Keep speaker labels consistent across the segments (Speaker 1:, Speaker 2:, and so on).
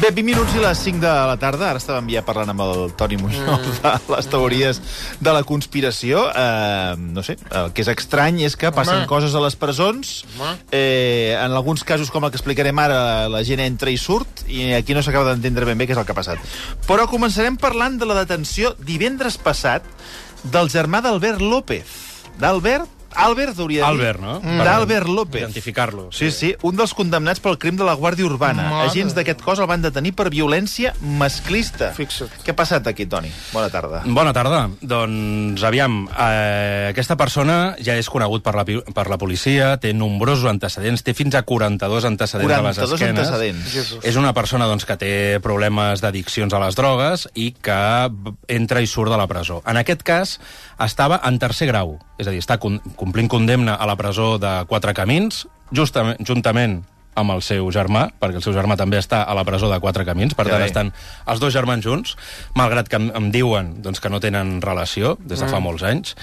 Speaker 1: Bé, 20 minuts i les 5 de la tarda. Ara estàvem ja parlant amb el Toni Muñoz
Speaker 2: Mm.
Speaker 1: de les teories de la conspiració. Eh, no sé, el que és estrany és que passen
Speaker 2: Home.
Speaker 1: coses a les presons.
Speaker 2: Home.
Speaker 1: Eh, en alguns casos, com el que explicarem ara, la gent entra i surt, i aquí no s'acaba d'entendre ben bé què és el que ha passat. Però començarem parlant de la detenció divendres passat del germà d'Albert López. D'Albert? Albert, hauria de dir.
Speaker 3: Albert, no? Per
Speaker 1: Mm. D'Albert López.
Speaker 3: identificar-lo.
Speaker 1: Sí, sí, un dels condemnats pel crim de la Guàrdia Urbana.
Speaker 2: Mare.
Speaker 1: Agents d'aquest cos el van detenir per violència masclista.
Speaker 2: Fixa't.
Speaker 1: Què ha passat aquí, Toni? Bona tarda.
Speaker 3: Bona tarda. Doncs, aviam, eh, aquesta persona ja és conegut per la, pi- per la policia, té nombrosos antecedents, té fins a 42 antecedents a les
Speaker 1: 42
Speaker 3: esquenes.
Speaker 1: antecedents.
Speaker 2: Jesús.
Speaker 3: És una persona doncs, que té problemes d'addiccions a les drogues i que b- entra i surt de la presó. En aquest cas, estava en tercer grau, és a dir, està com- complint condemna a la presó de Quatre Camins, justament, juntament amb el seu germà, perquè el seu germà també està a la presó de Quatre Camins, per
Speaker 1: Ja
Speaker 3: tant,
Speaker 1: ve.
Speaker 3: estan els dos germans junts, malgrat que em, em diuen doncs, que no tenen relació des de fa molts anys.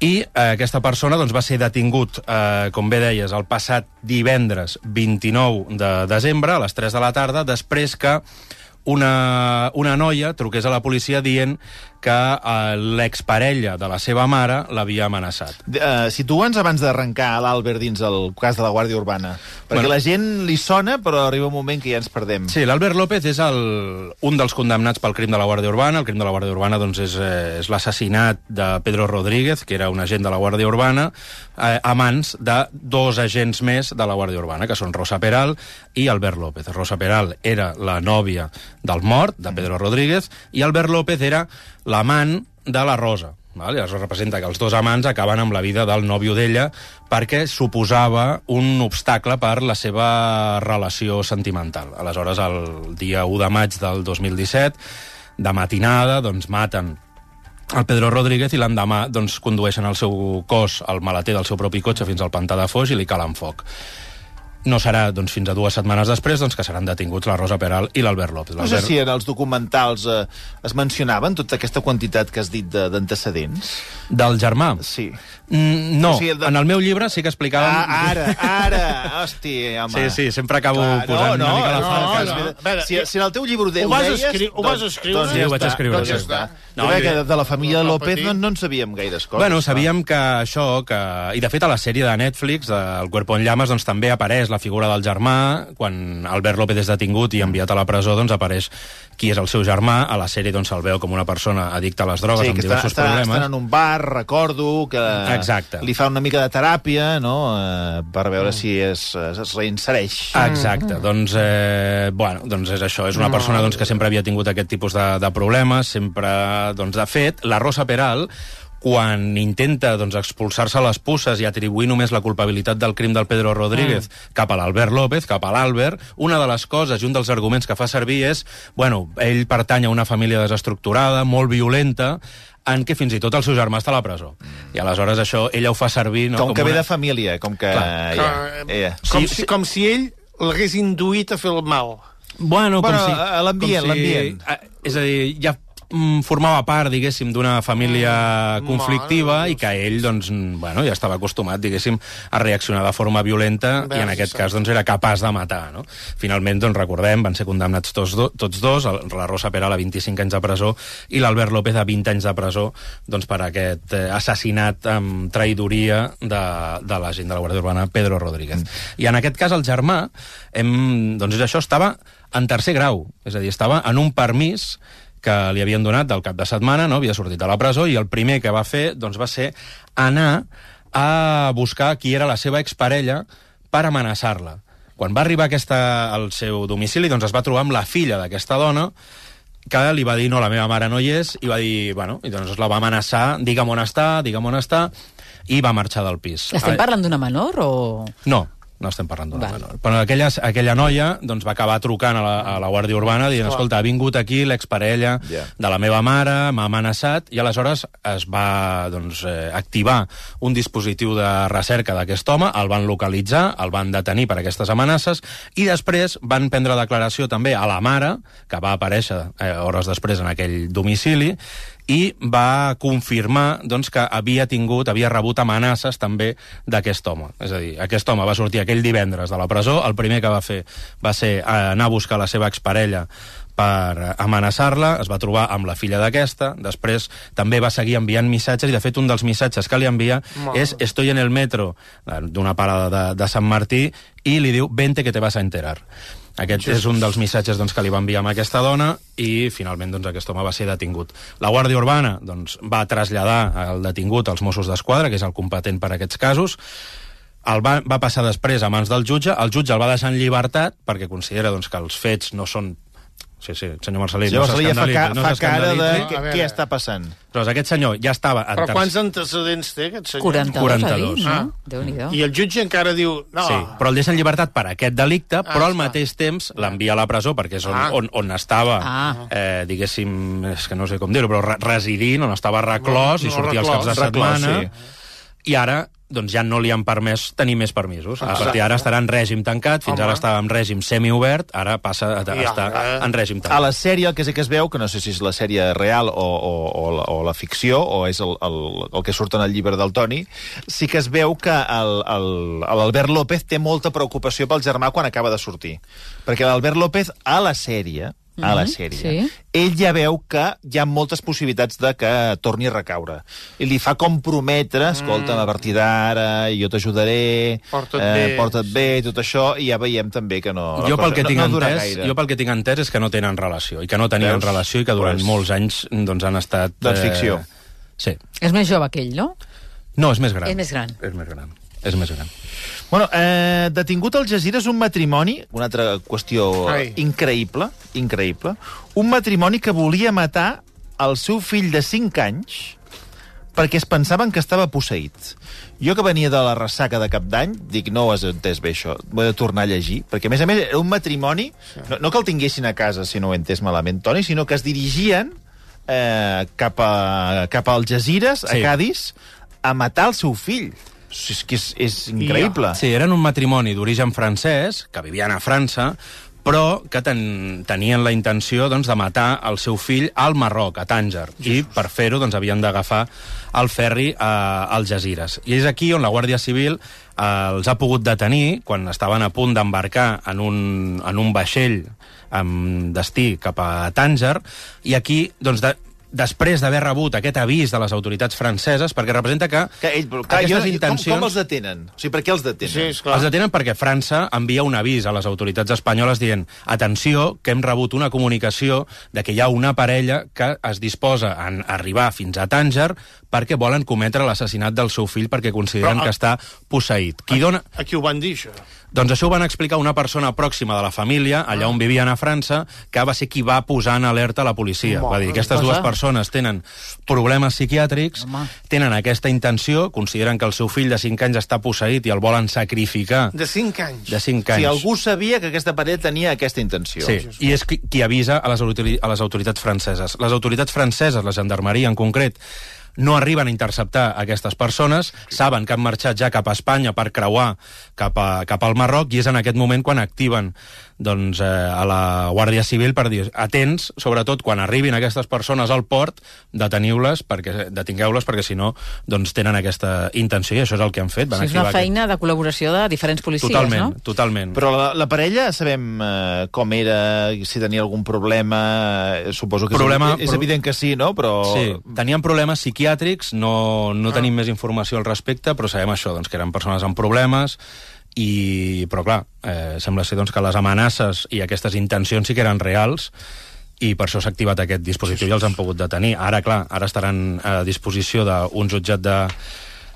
Speaker 3: I eh, aquesta persona doncs, va ser detingut, eh, com bé deies, el passat divendres 29 de desembre a les 3 de la tarda, després que una, una noia truqués a la policia dient que eh, l'exparella de la seva mare l'havia amenaçat.
Speaker 1: Uh, Situa'ns abans d'arrencar l'Albert dins el cas de la Guàrdia Urbana. Perquè
Speaker 3: Bueno.
Speaker 1: bueno. la gent li sona, però arriba un moment que ja ens perdem.
Speaker 3: Sí, l'Albert López és el, un dels condemnats pel crim de la Guàrdia Urbana. El crim de la Guàrdia Urbana doncs, és, eh, és l'assassinat de Pedro Rodríguez, que era un agent de la Guàrdia Urbana, eh, a mans de dos agents més de la Guàrdia Urbana, que són Rosa Peral i Albert López. Rosa Peral era la nòvia del mort, de Pedro Rodríguez, i Albert López era l'amant de la Rosa. Val? Llavors representa que els dos amants acaben amb la vida del nòvio d'ella perquè suposava un obstacle per la seva relació sentimental. Aleshores, el dia 1 de maig del 2017, de matinada, doncs maten el Pedro Rodríguez i l'endemà doncs, condueixen el seu cos al maleter del seu propi cotxe fins al pantà de Foix i li calen foc. No serà doncs, fins a dues setmanes després doncs, que seran detinguts la Rosa Peral i l'Albert López.
Speaker 1: No sé
Speaker 3: L'Albert-
Speaker 1: si en els documentals eh, es mencionaven tota aquesta quantitat que has dit de- d'antecedents.
Speaker 3: Del germà.
Speaker 1: Sí.
Speaker 3: Mm, no,
Speaker 1: O sigui, el de-
Speaker 3: en el meu llibre sí que explicàvem...
Speaker 1: Ah, ara, ara! Hosti, home.
Speaker 3: Sí, sí, sempre acabo
Speaker 1: Clar,
Speaker 3: Ah, posant
Speaker 1: no,
Speaker 3: una mica la
Speaker 1: no,
Speaker 3: falca.
Speaker 2: no.
Speaker 1: no. Espera, Si, si en el teu llibre ho, de,
Speaker 2: Ho vas
Speaker 1: deies...
Speaker 2: escri- ho vas escriure?
Speaker 1: Doncs,
Speaker 3: doncs, Sí,
Speaker 1: ja
Speaker 3: ho vaig
Speaker 1: està,
Speaker 3: escriure,
Speaker 1: Doncs ja
Speaker 2: sí.
Speaker 1: està. No,
Speaker 3: No,
Speaker 1: jo crec
Speaker 3: jo-
Speaker 1: que de la família
Speaker 2: no,
Speaker 1: López no,
Speaker 2: petit.
Speaker 1: no en sabíem gaires coses.
Speaker 3: Bueno, sabíem que això, que... i de fet a la sèrie de Netflix, de El cuerpo en llamas, doncs també apareix la figura del germà, quan Albert López és detingut i enviat a la presó, doncs apareix qui és el seu germà, a la sèrie doncs se'l veu com una persona addicta a les drogues,
Speaker 1: Sí,
Speaker 3: amb
Speaker 1: que estan,
Speaker 3: diversos
Speaker 1: estan,
Speaker 3: problemes.
Speaker 1: estan en un bar, recordo, que
Speaker 3: Exacte. Mm.
Speaker 1: li fa una mica de teràpia, no?, eh, per veure si es, es, es reinsereix.
Speaker 3: Exacte, doncs, eh, bueno, doncs és això, és una persona doncs, que sempre havia tingut aquest tipus de, de problemes, sempre, doncs, de fet, la Rosa Peral, quan intenta doncs, expulsar-se les pusses i atribuir només la culpabilitat del crim del Pedro Rodríguez mm. cap a l'Albert López, cap a l'Albert, una de les coses i un dels arguments que fa servir és, bueno, ell pertany a una família desestructurada, molt violenta, en què fins i tot el seu germà està a la presó. I aleshores això ella ho fa servir... No?
Speaker 1: com, que ve
Speaker 3: una-
Speaker 1: de família, com que...
Speaker 3: Clar,
Speaker 1: ja,
Speaker 2: Que, eh,
Speaker 1: ja.
Speaker 2: Com,
Speaker 3: Eh, Sí,
Speaker 2: si,
Speaker 3: sí.
Speaker 2: com si ell l'hagués induït a fer el mal.
Speaker 1: Bueno,
Speaker 3: Bueno, com si...
Speaker 1: a- a l'ambient,
Speaker 3: com
Speaker 1: l'ambient.
Speaker 3: a- És a dir, ja mm, formava part, diguéssim, d'una família
Speaker 1: Mm,
Speaker 3: conflictiva
Speaker 2: mare de
Speaker 3: i que ell, doncs, mm, bueno, ja estava acostumat, diguéssim, a reaccionar de forma violenta i en
Speaker 2: Veus,
Speaker 3: aquest
Speaker 2: sí.
Speaker 3: cas, doncs, era capaç de matar, no? Finalment, doncs, recordem, van ser condemnats tots, do, tots dos, el- la Rosa Peral a 25 anys de presó i l'Albert López a 20 anys de presó, doncs, per aquest eh, assassinat amb traïdoria de, de la gent de la Guàrdia Urbana, Pedro Rodríguez. I en aquest cas, el germà, hem, doncs, és això, estava en tercer grau, és a dir, estava en un permís que li havien donat del cap de setmana, no? havia sortit de la presó, i el primer que va fer doncs, va ser anar a buscar qui era la seva exparella per amenaçar-la. Quan va arribar aquesta al seu domicili, doncs es va trobar amb la filla d'aquesta dona, que li va dir, no, la meva mare no hi és, i va dir, bueno, i doncs la va amenaçar, digue'm on està, digue'm on està, i va marxar del pis.
Speaker 4: Estem
Speaker 3: Ah,
Speaker 4: parlant d'una menor o...?
Speaker 3: no, no estem parlant d'una
Speaker 4: Val.
Speaker 3: menor. Però aquella, aquella noia doncs, va acabar trucant a la, a la Guàrdia Urbana dient, escolta, ha vingut aquí l'exparella
Speaker 1: Ja.
Speaker 3: yeah. de la meva mare, m'ha amenaçat, i aleshores es va doncs, eh, activar un dispositiu de recerca d'aquest home, el van localitzar, el van detenir per aquestes amenaces, i després van prendre declaració també a la mare, que va aparèixer eh, hores després en aquell domicili, i va confirmar doncs, que havia tingut, havia rebut amenaces també d'aquest home. És a dir, aquest home va sortir aquell divendres de la presó, el primer que va fer va ser eh, anar a buscar la seva exparella per amenaçar-la, es va trobar amb la filla d'aquesta, després també va seguir enviant missatges, i de fet un dels missatges que li envia
Speaker 2: Mare.
Speaker 3: és «Estoy en el metro» eh, d'una parada de, de Sant Martí, i li diu «Vente que te vas a enterar». Aquest és un dels missatges doncs, que li va enviar a aquesta dona i finalment doncs, aquest home va ser detingut. La Guàrdia Urbana doncs, va traslladar el detingut als Mossos d'Esquadra, que és el competent per a aquests casos, el va, va passar després a mans del jutge, el jutge el va deixar en llibertat perquè considera doncs, que els fets no són... Sí, sí, senyor Marcelí, no
Speaker 1: Llavors, ja fa,
Speaker 3: s'escandalitzi.
Speaker 1: ca,
Speaker 3: no
Speaker 1: fa cara de
Speaker 3: s'escandalitzi.
Speaker 1: què,
Speaker 2: A veure.
Speaker 1: què està passant.
Speaker 3: Doncs aquest senyor ja estava...
Speaker 2: Però
Speaker 3: tercer-
Speaker 2: quants antecedents té aquest senyor?
Speaker 4: 42,
Speaker 3: 42.
Speaker 4: 42. ha dit, no?
Speaker 2: Ah.
Speaker 4: Déu-n'hi-do.
Speaker 2: I el jutge encara diu... No,
Speaker 3: Sí, però el deixa en llibertat per aquest delicte,
Speaker 2: Ah,
Speaker 3: però al
Speaker 2: està.
Speaker 3: mateix temps l'envia a la presó, perquè és on,
Speaker 2: Ah.
Speaker 3: on, on estava,
Speaker 4: Ah.
Speaker 3: eh, diguéssim, és que no sé com dir-ho, però re- residint, on estava
Speaker 2: No,
Speaker 3: reclòs,
Speaker 2: no,
Speaker 3: i sortia els
Speaker 2: reclòs,
Speaker 3: caps de
Speaker 1: reclòs,
Speaker 3: setmana, i ara doncs ja no li han permès tenir més permisos. A
Speaker 2: Exacte.
Speaker 3: partir d'ara estarà en règim tancat, fins
Speaker 2: Ah. Home.
Speaker 3: ara estava en règim semiobert, ara passa a, a
Speaker 2: I
Speaker 3: estar
Speaker 2: ara-
Speaker 3: en règim
Speaker 1: A
Speaker 3: tancat.
Speaker 1: la sèrie el que sí que es veu, que no sé si és la sèrie real o, o, o, la, o la ficció, o és el, el, el que surt en el llibre del Toni, sí que es veu que el- el- l'Albert López té molta preocupació pel germà quan acaba de sortir. Perquè l'Albert López, a la sèrie, a la
Speaker 4: Mhm,
Speaker 1: sèrie,
Speaker 4: sí.
Speaker 1: ell ja veu que hi ha moltes possibilitats de que torni a recaure. I li fa comprometre, escolta, a partir d'ara, jo t'ajudaré, eh,
Speaker 2: Porta't bé.
Speaker 1: porta't bé, i tot això, i ja veiem també que no... la
Speaker 3: Jo pel,
Speaker 1: cosa
Speaker 3: que
Speaker 1: no-
Speaker 3: tinc
Speaker 1: no dura
Speaker 3: entès,
Speaker 1: gaire.
Speaker 3: jo pel que tinc entès és que no tenen relació, i que no tenien
Speaker 1: Veus?
Speaker 3: relació, i que durant
Speaker 1: Pues-
Speaker 3: molts anys doncs, han estat... eh,
Speaker 1: Doncs ficció.
Speaker 3: Sí.
Speaker 4: És més jove que ell, no?
Speaker 3: No, és més gran.
Speaker 4: És més gran.
Speaker 3: És més gran. És més gran.
Speaker 1: Bueno, eh, detingut al Jazeera és un matrimoni, una altra qüestió
Speaker 2: Ai.
Speaker 1: Ai. increïble, increïble, un matrimoni que volia matar el seu fill de 5 anys perquè es pensaven que estava posseït. Jo que venia de la ressaca de cap d'any, dic, no ho has entès bé això, ho he de tornar a llegir, perquè a més a més era un matrimoni, no, no que el tinguessin a casa, si no ho he entès malament, Toni, sinó que es dirigien eh, cap, a, cap al Jazeeres, sí.
Speaker 3: Sí.
Speaker 1: a Cádiz, a matar el seu fill. O sigui, És que és, és increïble.
Speaker 3: Sí, eren un matrimoni d'origen francès, que vivien a França, però que ten, tenien la intenció doncs, de matar el seu fill al Marroc, a Tànger. I per fer-ho doncs, havien d'agafar el ferri eh, als Jazires. I és aquí on la Guàrdia Civil eh, els ha pogut detenir quan estaven a punt d'embarcar en, un, en un vaixell amb destí cap a Tànger, i aquí doncs, de, després d'haver rebut aquest avís de les autoritats franceses, perquè representa que,
Speaker 1: Que ell, però, clar, jo,
Speaker 3: aquestes
Speaker 1: intencions... com,
Speaker 3: intencions...
Speaker 1: com els detenen? O sigui, per què els detenen?
Speaker 2: Sí, esclar.
Speaker 3: Els detenen perquè França envia un avís a les autoritats espanyoles dient atenció, que hem rebut una comunicació de que hi ha una parella que es disposa a arribar fins a Tànger perquè volen cometre l'assassinat del seu fill perquè consideren
Speaker 2: Però,
Speaker 3: Però, que està posseït. Qui dona...
Speaker 2: A qui ho van dir, això?
Speaker 3: Doncs això ho van explicar una persona pròxima de la família, allà on vivien a França, que va ser qui va posar en alerta la policia.
Speaker 2: Home,
Speaker 3: va dir, aquestes dues
Speaker 2: passa.
Speaker 3: persones tenen problemes psiquiàtrics,
Speaker 4: Home.
Speaker 3: tenen aquesta intenció, consideren que el seu fill de 5 anys està posseït i el volen sacrificar
Speaker 2: De 5 anys.
Speaker 3: de 5
Speaker 1: Si
Speaker 3: anys.
Speaker 1: algú sabia que aquesta parella tenia aquesta intenció.
Speaker 3: Sí, i és qui, qui avisa a les, autori- a les autoritats franceses. Les autoritats franceses, la gendarmeria en concret, no arriben a interceptar aquestes persones, saben que han marxat ja cap a Espanya per creuar cap, a, cap al Marroc i és en aquest moment quan activen doncs, eh, a la Guàrdia Civil per dir atents, sobretot quan arribin aquestes persones al port, deteniu-les, perquè detingueu-les perquè si no doncs, tenen aquesta intenció i això és el que han fet.
Speaker 4: O
Speaker 3: Van
Speaker 4: sigui, és
Speaker 3: activar
Speaker 4: una
Speaker 3: aquest-
Speaker 4: feina de col·laboració de diferents policies,
Speaker 3: Totalment,
Speaker 4: no?
Speaker 3: totalment.
Speaker 1: Però la, la parella, sabem eh, com era, si tenia algun problema... eh, Suposo que
Speaker 3: Problema-
Speaker 1: és, és evident que sí, no? Però...
Speaker 3: Sí, tenien mm. problemes psiquiàtrics, no, no tenim més informació al respecte, però sabem això, doncs, que eren persones amb problemes, i, però clar, eh, sembla ser doncs, que les amenaces i aquestes intencions sí que eren reals, i per això s'ha activat aquest dispositiu i els han pogut detenir. Ara, clar, ara estaran a disposició d'un jutjat de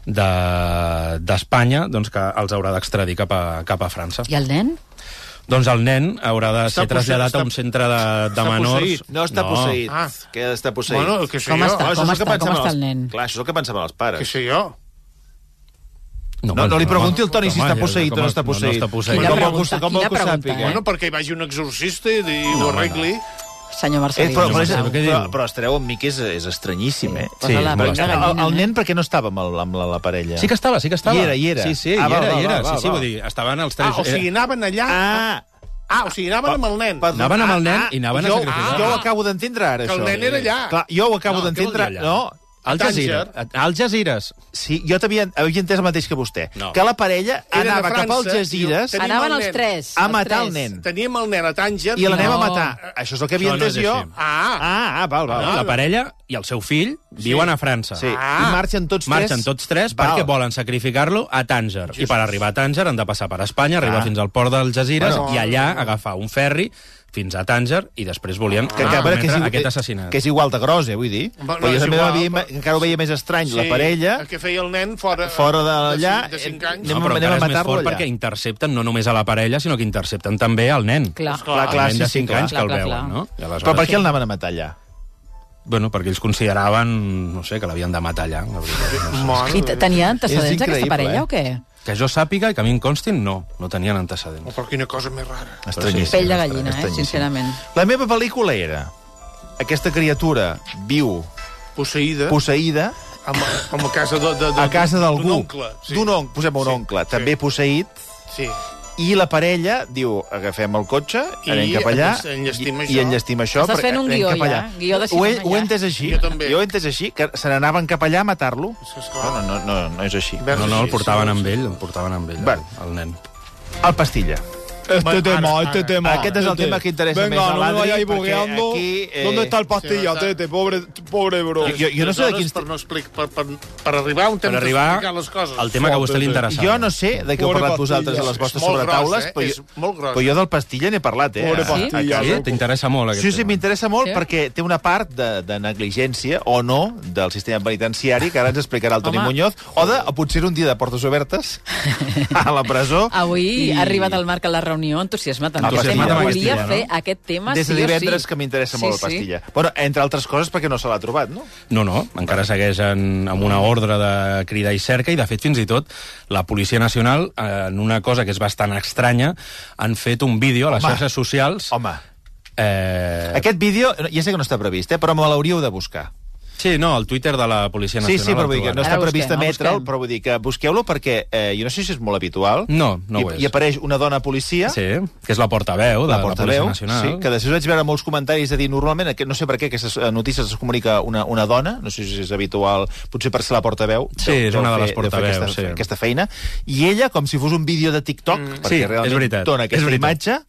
Speaker 3: de- d'Espanya, de, doncs que els haurà d'extradir cap, a, cap a França.
Speaker 4: I el nen?
Speaker 3: Doncs el nen haurà de
Speaker 2: Està
Speaker 3: ser traslladat
Speaker 2: posseït,
Speaker 3: a un centre de, de
Speaker 2: està
Speaker 3: menors.
Speaker 2: posseït.
Speaker 1: No està no. posseït.
Speaker 2: Ah.
Speaker 1: Ah. Que està posseït.
Speaker 2: Bueno, que sé
Speaker 4: Com
Speaker 2: jo.
Speaker 4: està?
Speaker 1: Clar, això és el
Speaker 4: Com
Speaker 1: que
Speaker 4: està? Com
Speaker 1: pensaven
Speaker 4: està el
Speaker 1: els-
Speaker 4: nen?
Speaker 1: Clar, això és el que pensaven els
Speaker 2: Que
Speaker 1: pares.
Speaker 2: sé jo.
Speaker 1: No, no li pregunti al Toni si
Speaker 3: Home,
Speaker 1: està
Speaker 3: ja,
Speaker 1: posseït
Speaker 3: com
Speaker 1: o no està posseït.
Speaker 3: No, no està posseït.
Speaker 1: Com vol
Speaker 4: Quina
Speaker 1: que ho
Speaker 4: pregunta,
Speaker 1: sa- com vol
Speaker 4: quina
Speaker 1: que ho
Speaker 4: pregunta,
Speaker 1: sàpiga?
Speaker 4: eh?
Speaker 2: Bueno, perquè hi vagi un exorcista i, i
Speaker 3: No,
Speaker 2: ho
Speaker 3: home,
Speaker 2: arregli.
Speaker 4: Senyor
Speaker 1: Eh,
Speaker 4: Marcelí.
Speaker 1: però, però,
Speaker 3: no
Speaker 1: és,
Speaker 3: sé, què
Speaker 1: però,
Speaker 3: diu?
Speaker 1: però estareu amb mi, que és, és estranyíssim, eh?
Speaker 3: Sí,
Speaker 4: Posa-la
Speaker 3: és molt
Speaker 4: per
Speaker 3: estrany.
Speaker 4: gallina,
Speaker 1: El, el
Speaker 4: eh?
Speaker 1: nen, perquè no estava amb, el, amb la, la parella?
Speaker 3: Sí que estava, sí que estava.
Speaker 1: Hi era, hi era.
Speaker 3: Sí, sí,
Speaker 1: Ah,
Speaker 3: hi
Speaker 1: va, va,
Speaker 3: era,
Speaker 1: Ah,
Speaker 3: hi era.
Speaker 1: va, va,
Speaker 3: sí, sí,
Speaker 1: va.
Speaker 3: vull dir, estaven els tres... eh.
Speaker 2: Ah, o sigui, anaven allà...
Speaker 1: Ah!
Speaker 2: Ah, o sigui, anaven amb el nen.
Speaker 1: Perdó.
Speaker 3: Anaven amb el nen
Speaker 2: Ah, ah,
Speaker 3: i anaven a
Speaker 2: jo-
Speaker 3: sacrificar.
Speaker 1: Jo ho
Speaker 2: Ah.
Speaker 1: acabo d'entendre ara,
Speaker 2: Que el
Speaker 1: això.
Speaker 2: nen era allà.
Speaker 1: Clar, jo ho acabo
Speaker 3: No, què vol dir
Speaker 1: d'ententendre...
Speaker 3: allà?
Speaker 1: No,
Speaker 3: Al Jazeera.
Speaker 2: Tànger.
Speaker 3: Al Jazeera.
Speaker 1: sí, jo t'havia havia entès el mateix que vostè.
Speaker 3: No.
Speaker 1: Que la parella
Speaker 2: Era de
Speaker 1: anava cap
Speaker 2: França,
Speaker 1: als Jazires
Speaker 2: diu, tenim el
Speaker 4: Anaven els
Speaker 2: nen.
Speaker 4: tres.
Speaker 1: A
Speaker 4: els
Speaker 1: matar el
Speaker 4: tres.
Speaker 1: nen.
Speaker 2: Ah, Teníem el nen a Tànger.
Speaker 1: i l'anem
Speaker 4: No.
Speaker 1: a matar. Això és el que havia
Speaker 3: Això no
Speaker 1: entès
Speaker 3: és
Speaker 1: jo.
Speaker 3: així.
Speaker 2: Ah,
Speaker 1: Ah, ah, val, val.
Speaker 3: La parella i el seu fill viuen a França.
Speaker 1: Sí.
Speaker 2: Ah.
Speaker 1: I marxen tots
Speaker 3: Marxen
Speaker 1: tres.
Speaker 3: tots tres
Speaker 1: Val.
Speaker 3: perquè volen sacrificar-lo a Tànger. I per arribar a Tànger han de passar per Espanya, arribar
Speaker 1: Ah.
Speaker 3: fins al port del Jazeera
Speaker 1: Bueno.
Speaker 3: i allà agafar un ferri fins a Tànger i després volien
Speaker 1: que, que, a veure, que, és,
Speaker 3: cometre
Speaker 1: igu-
Speaker 3: Ah, aquest assassinat.
Speaker 1: que és igual de gros, eh, vull dir.
Speaker 2: Bueno,
Speaker 1: però jo
Speaker 2: és
Speaker 1: també
Speaker 2: igual,
Speaker 1: havia,
Speaker 2: però-
Speaker 1: encara ho veia més estrany, la parella...
Speaker 2: El que feia el nen fora,
Speaker 1: Fora d'allà,
Speaker 2: De 5 anys.
Speaker 1: anem-
Speaker 3: No,
Speaker 1: anem
Speaker 3: però encara
Speaker 1: a
Speaker 3: és més
Speaker 1: matar-lo
Speaker 3: fort
Speaker 1: allà.
Speaker 3: perquè intercepten no només a la parella, sinó que intercepten també al nen.
Speaker 4: Clar.
Speaker 1: Clar, clar,
Speaker 3: el nen
Speaker 1: sí,
Speaker 3: de
Speaker 1: sí,
Speaker 3: 5
Speaker 1: clar.
Speaker 3: anys que el
Speaker 4: Clar, clar,
Speaker 3: veuen,
Speaker 4: clar.
Speaker 3: no? I aleshores-
Speaker 1: Però per què el anaven a matar allà?
Speaker 3: Bueno, perquè ells consideraven, no sé, que l'havien de matar allà. La veritat, no sé.
Speaker 4: I te- tenia
Speaker 1: És
Speaker 4: antecedents
Speaker 1: increïble,
Speaker 4: aquesta parella
Speaker 1: eh?
Speaker 4: o què?
Speaker 3: Que jo sàpiga i que a mi em constin, no, no tenien antecedents.
Speaker 2: Oh, Però quina cosa més rara.
Speaker 1: Estranyíssim.
Speaker 4: Pell de
Speaker 1: estrany,
Speaker 4: gallina, eh,
Speaker 1: estranyíssim.
Speaker 4: sincerament.
Speaker 1: La meva pel·lícula era aquesta criatura viu,
Speaker 2: Posseïda.
Speaker 1: posseïda,
Speaker 2: Amb, amb a casa de, de, de,
Speaker 1: a casa d'algú.
Speaker 2: D'un oncle. Sí.
Speaker 1: D'un oncle, posem un
Speaker 2: Sí,
Speaker 1: oncle,
Speaker 2: sí.
Speaker 1: també posseït,
Speaker 2: Sí.
Speaker 1: i la parella diu, agafem el cotxe,
Speaker 2: I
Speaker 1: anem cap allà,
Speaker 2: enllest- enllestim
Speaker 1: i,
Speaker 2: això.
Speaker 1: i enllestim això.
Speaker 4: Estàs
Speaker 1: perquè
Speaker 4: fent un
Speaker 1: anem
Speaker 4: guió
Speaker 1: cap
Speaker 4: ja,
Speaker 1: allà.
Speaker 4: guió
Speaker 1: ho,
Speaker 4: de
Speaker 1: he,
Speaker 4: cinema
Speaker 1: ho he
Speaker 4: ja.
Speaker 1: entès així.
Speaker 2: Jo també.
Speaker 1: Jo ho he entès així, que se n'anaven cap allà a matar-lo.
Speaker 2: És que, esclar,
Speaker 1: No, no, no, no és així.
Speaker 2: Veus?
Speaker 3: No, no, el
Speaker 2: Sí,
Speaker 3: portaven
Speaker 2: sí,
Speaker 3: amb
Speaker 2: sí.
Speaker 3: ell, el portaven amb ell,
Speaker 1: Va.
Speaker 3: el, el nen.
Speaker 1: El pastilla.
Speaker 5: Este tema,
Speaker 2: ara,
Speaker 5: este
Speaker 2: ara.
Speaker 5: tema.
Speaker 1: Aquest és el
Speaker 5: este.
Speaker 1: tema que interessa
Speaker 5: Venga,
Speaker 1: més a l'Adri,
Speaker 5: no me vayáis
Speaker 1: perquè
Speaker 5: bugueando.
Speaker 1: aquí, eh,
Speaker 5: Oh, ¿Dónde está el
Speaker 2: sí,
Speaker 5: pastilla,
Speaker 2: no está.
Speaker 5: tete? Pobre, pobre bro.
Speaker 1: Jo, jo, jo no sé de
Speaker 2: Aleshores,
Speaker 1: quins...
Speaker 2: Per, no explic, per, per, per arribar on
Speaker 3: Per
Speaker 2: hem
Speaker 3: arribar
Speaker 2: d'explicar les coses.
Speaker 3: al tema que a vostè li interessava.
Speaker 1: Jo no sé de què heu
Speaker 5: Pobre
Speaker 1: parlat
Speaker 5: pastilla.
Speaker 1: vosaltres a les
Speaker 5: És
Speaker 1: vostres
Speaker 2: molt gros,
Speaker 1: sobretaules,
Speaker 2: eh?
Speaker 1: però,
Speaker 2: És molt
Speaker 1: jo,
Speaker 2: gros.
Speaker 1: però jo del pastilla n'he parlat, eh?
Speaker 5: Pobre
Speaker 1: a-
Speaker 5: pastilla.
Speaker 1: a casa.
Speaker 3: Sí? T'interessa molt aquest
Speaker 1: Sí, sí,
Speaker 3: tema.
Speaker 1: m'interessa molt
Speaker 4: Sí?
Speaker 1: perquè té una part de, de negligència o no del sistema penitenciari, que ara ens explicarà el Toni
Speaker 4: Home.
Speaker 1: Muñoz, o de o potser un dia de portes obertes a la presó.
Speaker 4: Avui
Speaker 1: I-
Speaker 4: ha arribat al Marc a la reunió entusiasmat amb aquest
Speaker 1: Entusiasmat
Speaker 4: tema.
Speaker 1: amb aquest
Speaker 4: Volia
Speaker 3: tema, no?
Speaker 4: fer aquest tema
Speaker 1: Des de
Speaker 4: sí o
Speaker 1: divendres,
Speaker 4: sí.
Speaker 1: que m'interessa
Speaker 4: Sí,
Speaker 1: molt el
Speaker 4: sí.
Speaker 1: pastilla. Bueno, entre altres coses perquè no se l'ha trobat, no?
Speaker 3: No, no, encara segueix en, amb una ordre de crida i cerca i, de fet, fins i tot, la Policia Nacional, eh, en una cosa que és bastant estranya, han fet un vídeo a les
Speaker 1: Home.
Speaker 3: xarxes socials...
Speaker 1: Home,
Speaker 3: Eh,
Speaker 1: aquest vídeo, ja sé que no està previst, eh, però me l'hauríeu de buscar.
Speaker 3: sí, no, el Twitter de la Policia
Speaker 1: Sí,
Speaker 3: Nacional...
Speaker 1: sí, però
Speaker 3: el
Speaker 1: vull dir que no
Speaker 3: trobarà.
Speaker 1: està
Speaker 4: Ara
Speaker 1: previst
Speaker 4: busquem, ara
Speaker 1: emetre'l,
Speaker 4: busquem.
Speaker 1: però vull dir que busqueu-lo perquè eh, jo no sé si és molt habitual.
Speaker 3: No, no
Speaker 1: I,
Speaker 3: ho és.
Speaker 1: I apareix una dona policia,
Speaker 3: Ah, Sí, que és la portaveu de
Speaker 1: la
Speaker 3: la,
Speaker 1: portaveu,
Speaker 3: Policia Nacional.
Speaker 1: sí, que després vaig veure molts comentaris de dir normalment, aquest- no sé per què aquestes eh, notícies es comunica una, una dona, no sé si és habitual, potser per ser la portaveu.
Speaker 3: Sí, és una de les portaveus,
Speaker 1: Aquesta,
Speaker 3: sí.
Speaker 1: aquesta feina. I ella, com si fos un vídeo de TikTok, mm. perquè
Speaker 3: Sí, és
Speaker 1: realment
Speaker 3: veritat,
Speaker 1: dona
Speaker 3: és
Speaker 1: aquesta
Speaker 3: veritat.
Speaker 1: imatge,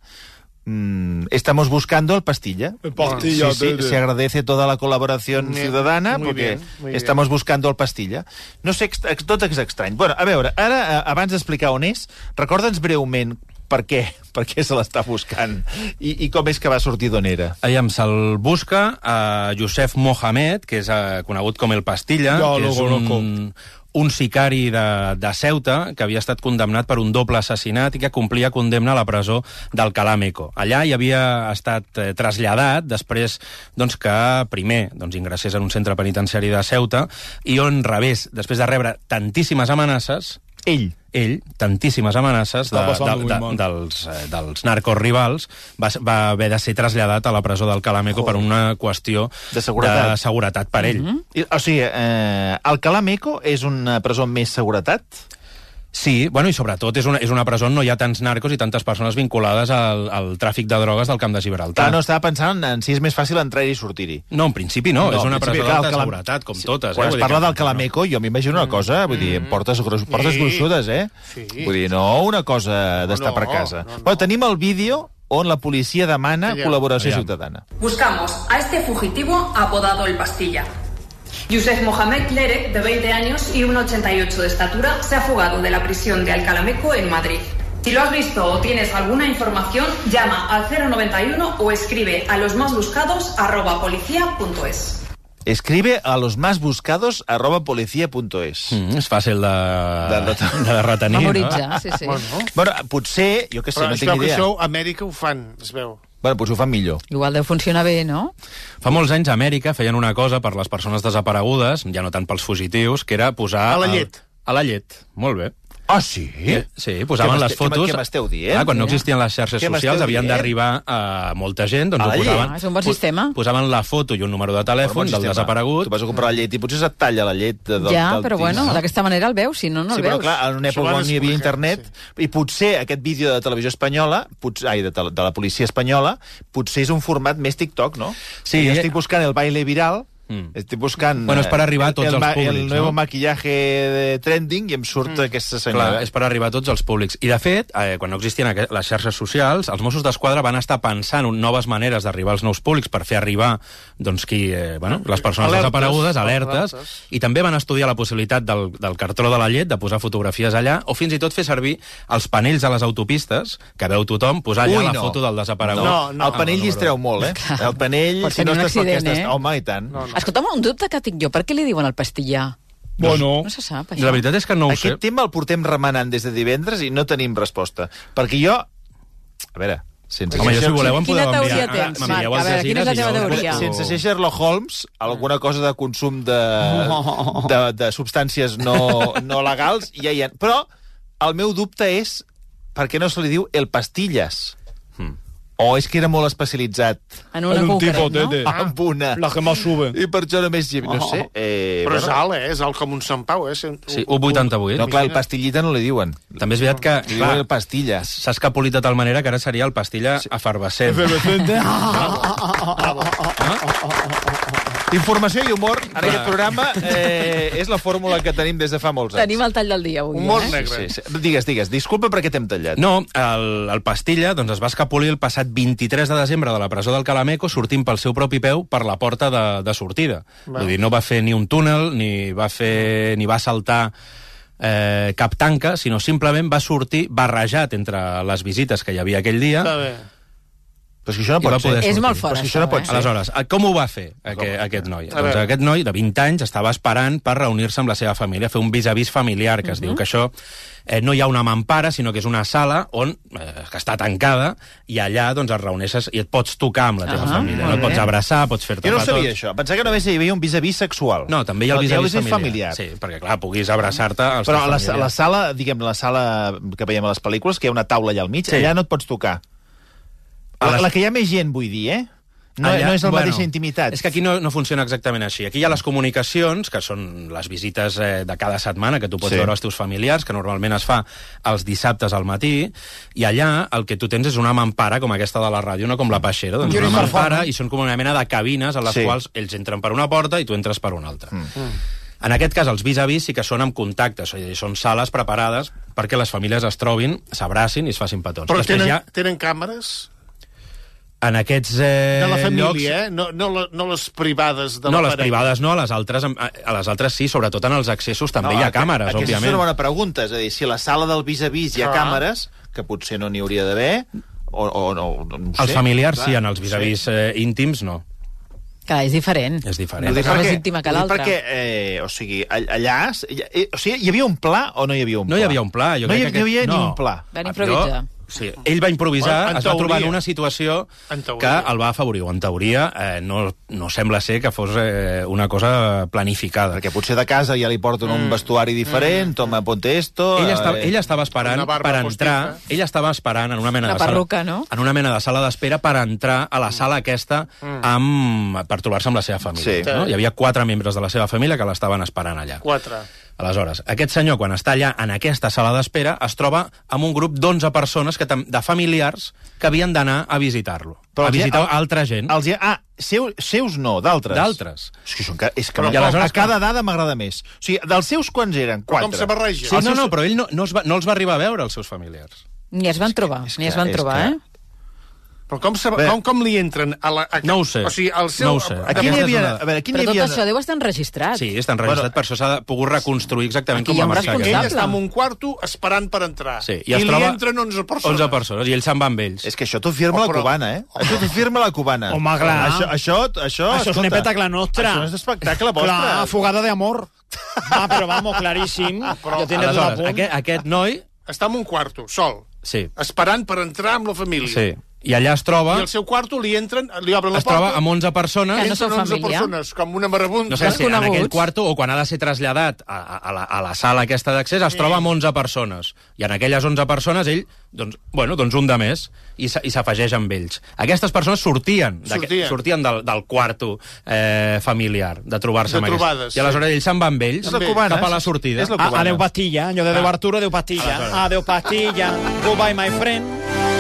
Speaker 1: Mm, estamos buscando el pastilla.
Speaker 5: El Pastilla,
Speaker 1: sí, sí,
Speaker 5: tete.
Speaker 1: se agradece toda la colaboración
Speaker 2: Muy-
Speaker 1: ciudadana
Speaker 2: muy
Speaker 1: porque
Speaker 2: bien, muy bien.
Speaker 1: estamos buscando el pastilla. No sé, ex- ex- tot és estrany. Bueno, a veure, ara, eh, abans d'explicar on és, recorda'ns breument per què, per què se l'està buscant i, i com és que va sortir d'on era.
Speaker 3: Aviam, se'l busca a Josef Mohamed, que és eh, conegut com el Pastilla,
Speaker 5: Ja
Speaker 3: que
Speaker 5: lo
Speaker 3: és
Speaker 5: conozco.
Speaker 3: un, un sicari de, de Ceuta que havia estat condemnat per un doble assassinat i que complia condemna a la presó d'Alcalá Meco. Allà hi havia estat eh, traslladat després doncs, que primer doncs, ingressés en un centre penitenciari de Ceuta i on revés, després de rebre tantíssimes amenaces,
Speaker 1: Ell.
Speaker 3: ell, tantíssimes amenaces de,
Speaker 5: Està passant
Speaker 3: de,
Speaker 5: avui
Speaker 3: de,
Speaker 5: molt.
Speaker 3: dels, eh, dels narcos rivals, va, s- va haver de ser traslladat a la presó del Calameco per una
Speaker 1: Oh.
Speaker 3: qüestió
Speaker 1: De seguretat.
Speaker 3: de seguretat per ell.
Speaker 1: I, o sigui, eh, Alcalá Meco és una presó amb més seguretat?
Speaker 3: Sí, bueno, i sobretot és una, és una presó on no hi ha tants narcos i tantes persones vinculades al, al tràfic de drogues del camp de Gibraltar.
Speaker 1: Clar, Ah, no, estava pensant en si és més fàcil entrar-hi i sortir-hi.
Speaker 3: no, en principi no,
Speaker 1: No,
Speaker 3: és
Speaker 1: en
Speaker 3: una
Speaker 1: principi,
Speaker 3: presó
Speaker 1: clar,
Speaker 3: d'alta
Speaker 1: Alcalá-
Speaker 3: seguretat, com totes.
Speaker 1: Quan
Speaker 3: eh?
Speaker 1: es
Speaker 3: Vull dir
Speaker 1: parla
Speaker 3: que- Mm,
Speaker 1: del Calameco, jo m'imagino una cosa, vull dir, portes, gros, portes
Speaker 2: Sí.
Speaker 1: gruixudes, eh?
Speaker 2: Sí.
Speaker 1: Vull dir, no una cosa d'estar
Speaker 2: No,
Speaker 1: per casa.
Speaker 2: no, no.
Speaker 1: Bueno, tenim el vídeo on la policia demana
Speaker 2: Aviam.
Speaker 1: col·laboració
Speaker 3: Aviam.
Speaker 1: ciutadana.
Speaker 6: Buscamos a este fugitivo apodado El Pastilla. Youssef Mohamed Lerek, de 20 años y 1,88 de estatura, se ha fugado de la prisión de Alcalameco en Madrid. Si lo has visto o tienes alguna información, llama al 091 o escribe a los más buscados arroba policía.es.
Speaker 1: Escribe a losmasbuscados arroba policia.es. Mm.
Speaker 3: Mm, és fàcil de,
Speaker 1: De
Speaker 3: de,
Speaker 1: retenir.
Speaker 3: de retenir. No?
Speaker 4: Memoritzar, sí, sí.
Speaker 2: Bueno,
Speaker 1: Bueno, potser, jo que sé,
Speaker 2: però
Speaker 1: no
Speaker 2: es
Speaker 1: tinc
Speaker 2: veu que
Speaker 1: idea.
Speaker 2: això a Amèrica ho fan, es veu.
Speaker 1: Bueno, potser ho fan millor.
Speaker 4: Igual deu funcionar bé, no?
Speaker 3: Fa molts anys a Amèrica feien una cosa per les persones desaparegudes, ja no tant pels fugitius, que era posar...
Speaker 2: A la
Speaker 3: el-
Speaker 2: llet.
Speaker 3: A la llet, molt bé.
Speaker 1: Ah, sí?
Speaker 3: Sí, posaven
Speaker 1: Què
Speaker 3: les
Speaker 1: m'este- què m-
Speaker 3: fotos...
Speaker 1: què m'esteu dient?
Speaker 3: Clar, quan no
Speaker 4: Mira.
Speaker 3: existien les xarxes
Speaker 1: Què m'esteu
Speaker 3: socials havien
Speaker 1: dient?
Speaker 3: d'arribar a molta gent, doncs
Speaker 1: A la
Speaker 3: ho
Speaker 1: llei.
Speaker 3: posaven...
Speaker 4: Ah, és un bon sistema.
Speaker 3: Posaven la foto i un número de telèfon del desaparegut.
Speaker 1: Tu vas a comprar la llet i potser se't talla la llet de- del,
Speaker 4: Ja,
Speaker 1: del
Speaker 4: però
Speaker 1: tis.
Speaker 4: bueno, d'aquesta manera el veus, si no, no
Speaker 1: sí,
Speaker 4: el
Speaker 1: però
Speaker 4: veus.
Speaker 1: clar, en una
Speaker 2: Això
Speaker 1: època
Speaker 2: van
Speaker 1: on hi havia
Speaker 2: explicar,
Speaker 1: internet, i potser aquest vídeo de televisió espanyola, potser, ai, de, tele- de la policia espanyola, potser és un format més TikTok, no?
Speaker 3: Sí. eh.
Speaker 1: Jo estic buscant el baile viral,
Speaker 3: Mm.
Speaker 1: estic buscant...
Speaker 3: Bueno, és per
Speaker 1: eh,
Speaker 3: arribar a tots
Speaker 1: el,
Speaker 3: els
Speaker 1: ma-
Speaker 3: públics,
Speaker 1: El nuevo
Speaker 3: no?
Speaker 1: maquillaje de trending i em surt
Speaker 2: Mm.
Speaker 1: aquesta senyora.
Speaker 3: Clar, és per arribar a tots els públics. I, de fet, eh, quan no existien aqu- les xarxes socials, els Mossos d'Esquadra van estar pensant en noves maneres d'arribar als nous públics per fer arribar doncs, qui, eh, bueno, les persones
Speaker 2: Alertes,
Speaker 3: desaparegudes, alertes,
Speaker 2: alertes.
Speaker 3: i també van estudiar la possibilitat del, del cartró de la llet, de posar fotografies allà, o fins i tot fer servir els panells a les autopistes, que veu tothom, posar allà
Speaker 1: Ui,
Speaker 3: la
Speaker 1: no.
Speaker 3: foto del desaparegut. Ah,
Speaker 1: No, no, el panell
Speaker 3: no, no,
Speaker 1: distreu molt, eh? El panell,
Speaker 4: Pot
Speaker 1: si no
Speaker 4: tenir un
Speaker 1: estàs pel que
Speaker 4: accident,
Speaker 1: estàs...
Speaker 4: eh?
Speaker 1: Home, i tant.
Speaker 2: No, no.
Speaker 4: Escolta'm, un dubte que tinc jo, per què li diuen el pastillà?
Speaker 5: Bueno,
Speaker 4: No se sap, això.
Speaker 3: La veritat és que no ho
Speaker 1: Aquest
Speaker 3: sé.
Speaker 1: tema el portem remenant des de divendres i no tenim resposta. Perquè jo... A veure, sense,
Speaker 3: Home, jo, si voleu, em
Speaker 4: Quina
Speaker 3: podeu enviar...
Speaker 4: teoria
Speaker 3: ara
Speaker 4: tens,
Speaker 3: m'envieu
Speaker 4: Marc?
Speaker 3: els
Speaker 4: A veure,
Speaker 3: de
Speaker 4: quina és la
Speaker 3: Gines i
Speaker 4: teva
Speaker 3: jo-
Speaker 4: teoria?
Speaker 1: sense ser Sherlock Holmes, alguna cosa de consum de, de, de substàncies no, no legals ja hi ha. Però el meu dubte és per què no se li diu el pastillas? O és que era molt especialitzat
Speaker 4: En una
Speaker 5: En un
Speaker 4: concret,
Speaker 5: tipus,
Speaker 4: no?
Speaker 5: tete.
Speaker 1: ah, amb una...
Speaker 5: la que más sube.
Speaker 1: I per això només... hi- No sé. Eh,
Speaker 2: Però és
Speaker 1: bueno,
Speaker 2: alt, eh? És alt com un Sant Pau, eh? Cent-
Speaker 3: Sí, 1,88.
Speaker 1: no, clar, el pastillita no li diuen.
Speaker 3: També és veritat que...
Speaker 1: Li
Speaker 3: clar,
Speaker 1: diuen el pastillas.
Speaker 3: s'ha escapolit de tal manera que ara seria el pastilla efervescent.
Speaker 5: Efervescente.
Speaker 1: Informació i humor en aquest programa eh, és la fórmula que tenim des de fa molts anys.
Speaker 4: Tenim el tall del dia avui,
Speaker 2: Humor
Speaker 4: eh?
Speaker 2: negre.
Speaker 1: Sí, sí. Digues, digues, disculpa perquè t'hem tallat.
Speaker 3: No, el, el Pastilla doncs, es va escapolir el passat 23 de desembre de la presó del Calameco sortint pel seu propi peu per la porta de, de sortida. Va. Vull dir, no va fer ni un túnel, ni va, fer, ni va saltar eh, cap tanca, sinó simplement va sortir barrejat entre les visites que hi havia aquell dia.
Speaker 2: Està bé.
Speaker 1: Però és que això no
Speaker 3: I va
Speaker 1: pot ser.
Speaker 3: poder
Speaker 4: És
Speaker 3: sortir.
Speaker 4: molt fort,
Speaker 1: Però si això no pot
Speaker 4: eh?
Speaker 1: ser.
Speaker 3: Aleshores, eh, com ho va fer aquest, aquest noi?
Speaker 2: A
Speaker 3: Doncs
Speaker 2: veure.
Speaker 3: aquest noi de 20 anys estava esperant per reunir-se amb la seva família, fer un vis-a-vis familiar, que es
Speaker 4: Mhm.
Speaker 3: diu que això eh, no hi ha una mampara, sinó que és una sala on eh, que està tancada i allà doncs es reuneixes i et pots tocar amb la teva
Speaker 4: Ah,
Speaker 3: família, no?
Speaker 4: molt
Speaker 3: Et pots
Speaker 4: bé.
Speaker 3: abraçar, pots fer-te
Speaker 1: Jo no ho
Speaker 3: petons.
Speaker 1: sabia, això. Pensava que només hi havia un vis-a-vis sexual.
Speaker 3: No, també hi ha el
Speaker 1: Però
Speaker 3: vis-a-vis
Speaker 1: vis-a-vis
Speaker 3: familiar. Sí, perquè clar, puguis abraçar-te als
Speaker 1: Però a
Speaker 3: teus
Speaker 1: la, a
Speaker 3: familiars.
Speaker 1: la sala, diguem, la sala que veiem a les pel·lícules, que hi ha una taula allà al mig,
Speaker 3: Sí.
Speaker 1: allà no et pots tocar.
Speaker 3: A
Speaker 1: La,
Speaker 3: les-
Speaker 1: la que hi ha més gent, vull dir, eh? No,
Speaker 3: Allà-
Speaker 1: no és la mateixa intimitat.
Speaker 3: És que aquí no, no funciona exactament així. Aquí hi ha les comunicacions, que són les visites eh, de cada setmana que tu pots
Speaker 1: Sí.
Speaker 3: sí. veure als teus familiars, que normalment es fa els dissabtes al matí, i allà el que tu tens és una mampara, com aquesta de la ràdio, no com la peixera, doncs una mampara, i són com una mena de cabines a les
Speaker 1: Sí.
Speaker 3: sí. quals ells entren per una porta i tu entres per una altra. Mm. En aquest cas, els vis-a-vis sí que són amb contactes, és a dir, són sales preparades perquè les famílies es trobin, s'abracin i es facin petons.
Speaker 2: Però
Speaker 3: Després
Speaker 2: tenen,
Speaker 3: ja,
Speaker 2: tenen càmeres?
Speaker 3: en aquests eh,
Speaker 2: De la
Speaker 3: llocs,
Speaker 2: família, eh? No, no, la- no les privades de
Speaker 3: no,
Speaker 2: la
Speaker 3: les
Speaker 2: parella.
Speaker 3: privades no, a les altres, a a les altres sí, sobretot en els accessos també hi ha
Speaker 1: aquest-
Speaker 3: càmeres,
Speaker 1: aquesta
Speaker 3: òbviament. Ah.
Speaker 1: és una bona pregunta. És a dir, si a la sala del vis-a-vis hi ha
Speaker 2: Clar.
Speaker 1: càmeres, que potser no n'hi hauria d'haver, o, o no, no, no ho sé.
Speaker 3: Els familiars
Speaker 1: Clar,
Speaker 3: sí, en els
Speaker 1: no ho sé.
Speaker 3: vis-a-vis eh, íntims no,
Speaker 4: Clar, és diferent.
Speaker 3: és
Speaker 1: Ho
Speaker 3: diferent.
Speaker 1: dic
Speaker 4: Una cosa
Speaker 1: perquè-
Speaker 4: més íntima que
Speaker 1: ho dic
Speaker 4: l'altra.
Speaker 1: Perquè, eh, o sigui, all- allà... s- hi- eh, O sigui, hi havia un pla o no hi havia un pla?
Speaker 3: No hi havia un pla. Jo
Speaker 1: no
Speaker 3: crec
Speaker 1: hi,
Speaker 3: que aquest...
Speaker 1: no hi havia ni
Speaker 3: no.
Speaker 1: un pla.
Speaker 4: Van improvisar.
Speaker 3: Jo, sí, ell va improvisar,
Speaker 2: Bueno, en
Speaker 3: es va trobar en
Speaker 2: teoria.
Speaker 3: una situació
Speaker 2: En teoria.
Speaker 3: que el va afavorir. O En teoria, eh, no, no sembla ser que fos eh, una cosa planificada.
Speaker 1: Perquè potser de casa ja li porten un vestuari diferent, toma, ponte esto...
Speaker 3: Mm. Ella estava,
Speaker 1: eh,
Speaker 3: ella estava esperant
Speaker 2: Una barba
Speaker 3: per entrar...
Speaker 2: postiza.
Speaker 3: Ella estava esperant en una mena
Speaker 4: Una
Speaker 3: de sala...
Speaker 4: perruca, no?
Speaker 3: En una mena de sala d'espera per entrar a la sala aquesta amb, per trobar-se amb la seva família.
Speaker 1: Sí.
Speaker 3: No? Hi havia quatre membres de la seva família que l'estaven esperant allà.
Speaker 2: Quatre.
Speaker 3: Aleshores, aquest senyor, quan està allà en aquesta sala d'espera, es troba amb un grup d'11 persones que, tam- de familiars que havien d'anar a visitar-lo.
Speaker 1: Però
Speaker 3: A
Speaker 1: els hi-
Speaker 3: visitar
Speaker 1: el-
Speaker 3: altra gent.
Speaker 1: Els hi ha... Ah, seu, seus no, d'altres.
Speaker 3: D'altres.
Speaker 1: És que, són, ca- és que
Speaker 3: Però
Speaker 1: a,
Speaker 3: aleshores-
Speaker 1: a cada dada m'agrada més. O sigui, dels seus quants eren? Quatre.
Speaker 2: Com se barreja?
Speaker 3: Sí, no, no, però ell no, no, els va, no els va arribar a veure, els seus familiars.
Speaker 4: Ni es van trobar,
Speaker 1: és
Speaker 4: ni es
Speaker 1: que-
Speaker 4: van
Speaker 1: és
Speaker 4: trobar,
Speaker 1: que-
Speaker 4: eh?
Speaker 2: Però com, se, com, com li entren? A la, a,
Speaker 3: No ho sé.
Speaker 2: O sigui, al seu...
Speaker 3: No ho sé.
Speaker 1: Aquí n'hi
Speaker 3: Aquesta és
Speaker 1: havia...
Speaker 3: una-
Speaker 1: A veure, aquí
Speaker 4: Però
Speaker 1: n'hi
Speaker 4: tot
Speaker 1: havia...
Speaker 4: això deu estar enregistrat.
Speaker 3: Sí, està enregistrat,
Speaker 1: Bueno,
Speaker 3: per això s'ha de- pogut reconstruir exactament
Speaker 4: Aquí
Speaker 3: com
Speaker 4: hi ha
Speaker 3: va
Speaker 4: un
Speaker 3: marxar.
Speaker 2: Ell
Speaker 3: aquest.
Speaker 4: responsable.
Speaker 2: està en un quarto esperant per entrar.
Speaker 3: Sí,
Speaker 2: I,
Speaker 3: i es
Speaker 2: li
Speaker 3: troba
Speaker 2: entren 11 persones.
Speaker 3: 11 persones, i ells se'n va amb ells.
Speaker 1: És que això t'ho firma la
Speaker 2: Oh, però-
Speaker 1: cubana, eh? Això t'ho firma la cubana.
Speaker 5: Home, clar.
Speaker 1: Això, això, això,
Speaker 5: Això és un espectacle nostre.
Speaker 1: Això és un espectacle vostre.
Speaker 5: Clar, fugada de amor. Ah, però vamos, claríssim. Però, jo tenia tot a
Speaker 3: Aleshores,
Speaker 5: punt.
Speaker 3: aquest, aquest noi...
Speaker 2: Està en un quarto, sol,
Speaker 3: Sí,
Speaker 2: esperant per entrar amb la família.
Speaker 3: sí. I allà es troba...
Speaker 2: I al seu quarto li entren, li obren la
Speaker 3: Es troba
Speaker 2: porta...
Speaker 3: amb 11 persones...
Speaker 4: Que no són
Speaker 2: entren 11
Speaker 4: família.
Speaker 2: persones, com una marabunta.
Speaker 3: No sé si en
Speaker 4: Desconeguts.
Speaker 3: aquell quarto o quan ha de ser traslladat a, a, a la, a la sala aquesta d'accés es troba amb 11 persones. I en aquelles 11 persones ell, doncs, bueno, doncs un de més, i s'ha- i s'afegeix amb ells. Aquestes persones sortien, d'aquest-
Speaker 2: Sortien.
Speaker 3: sortien del, del quarto eh, familiar, de trobar-se
Speaker 2: De
Speaker 3: amb
Speaker 2: trobades,
Speaker 3: ells. I aleshores ell se'n va amb ells
Speaker 1: És la cubana,
Speaker 3: cap a la
Speaker 1: és-
Speaker 3: sortida.
Speaker 1: és la
Speaker 5: A,
Speaker 1: cubana.
Speaker 5: adeu Ah, pastilla, allò de Déu Arturo, adeu pastilla. Adeu pastilla, goodbye my friend.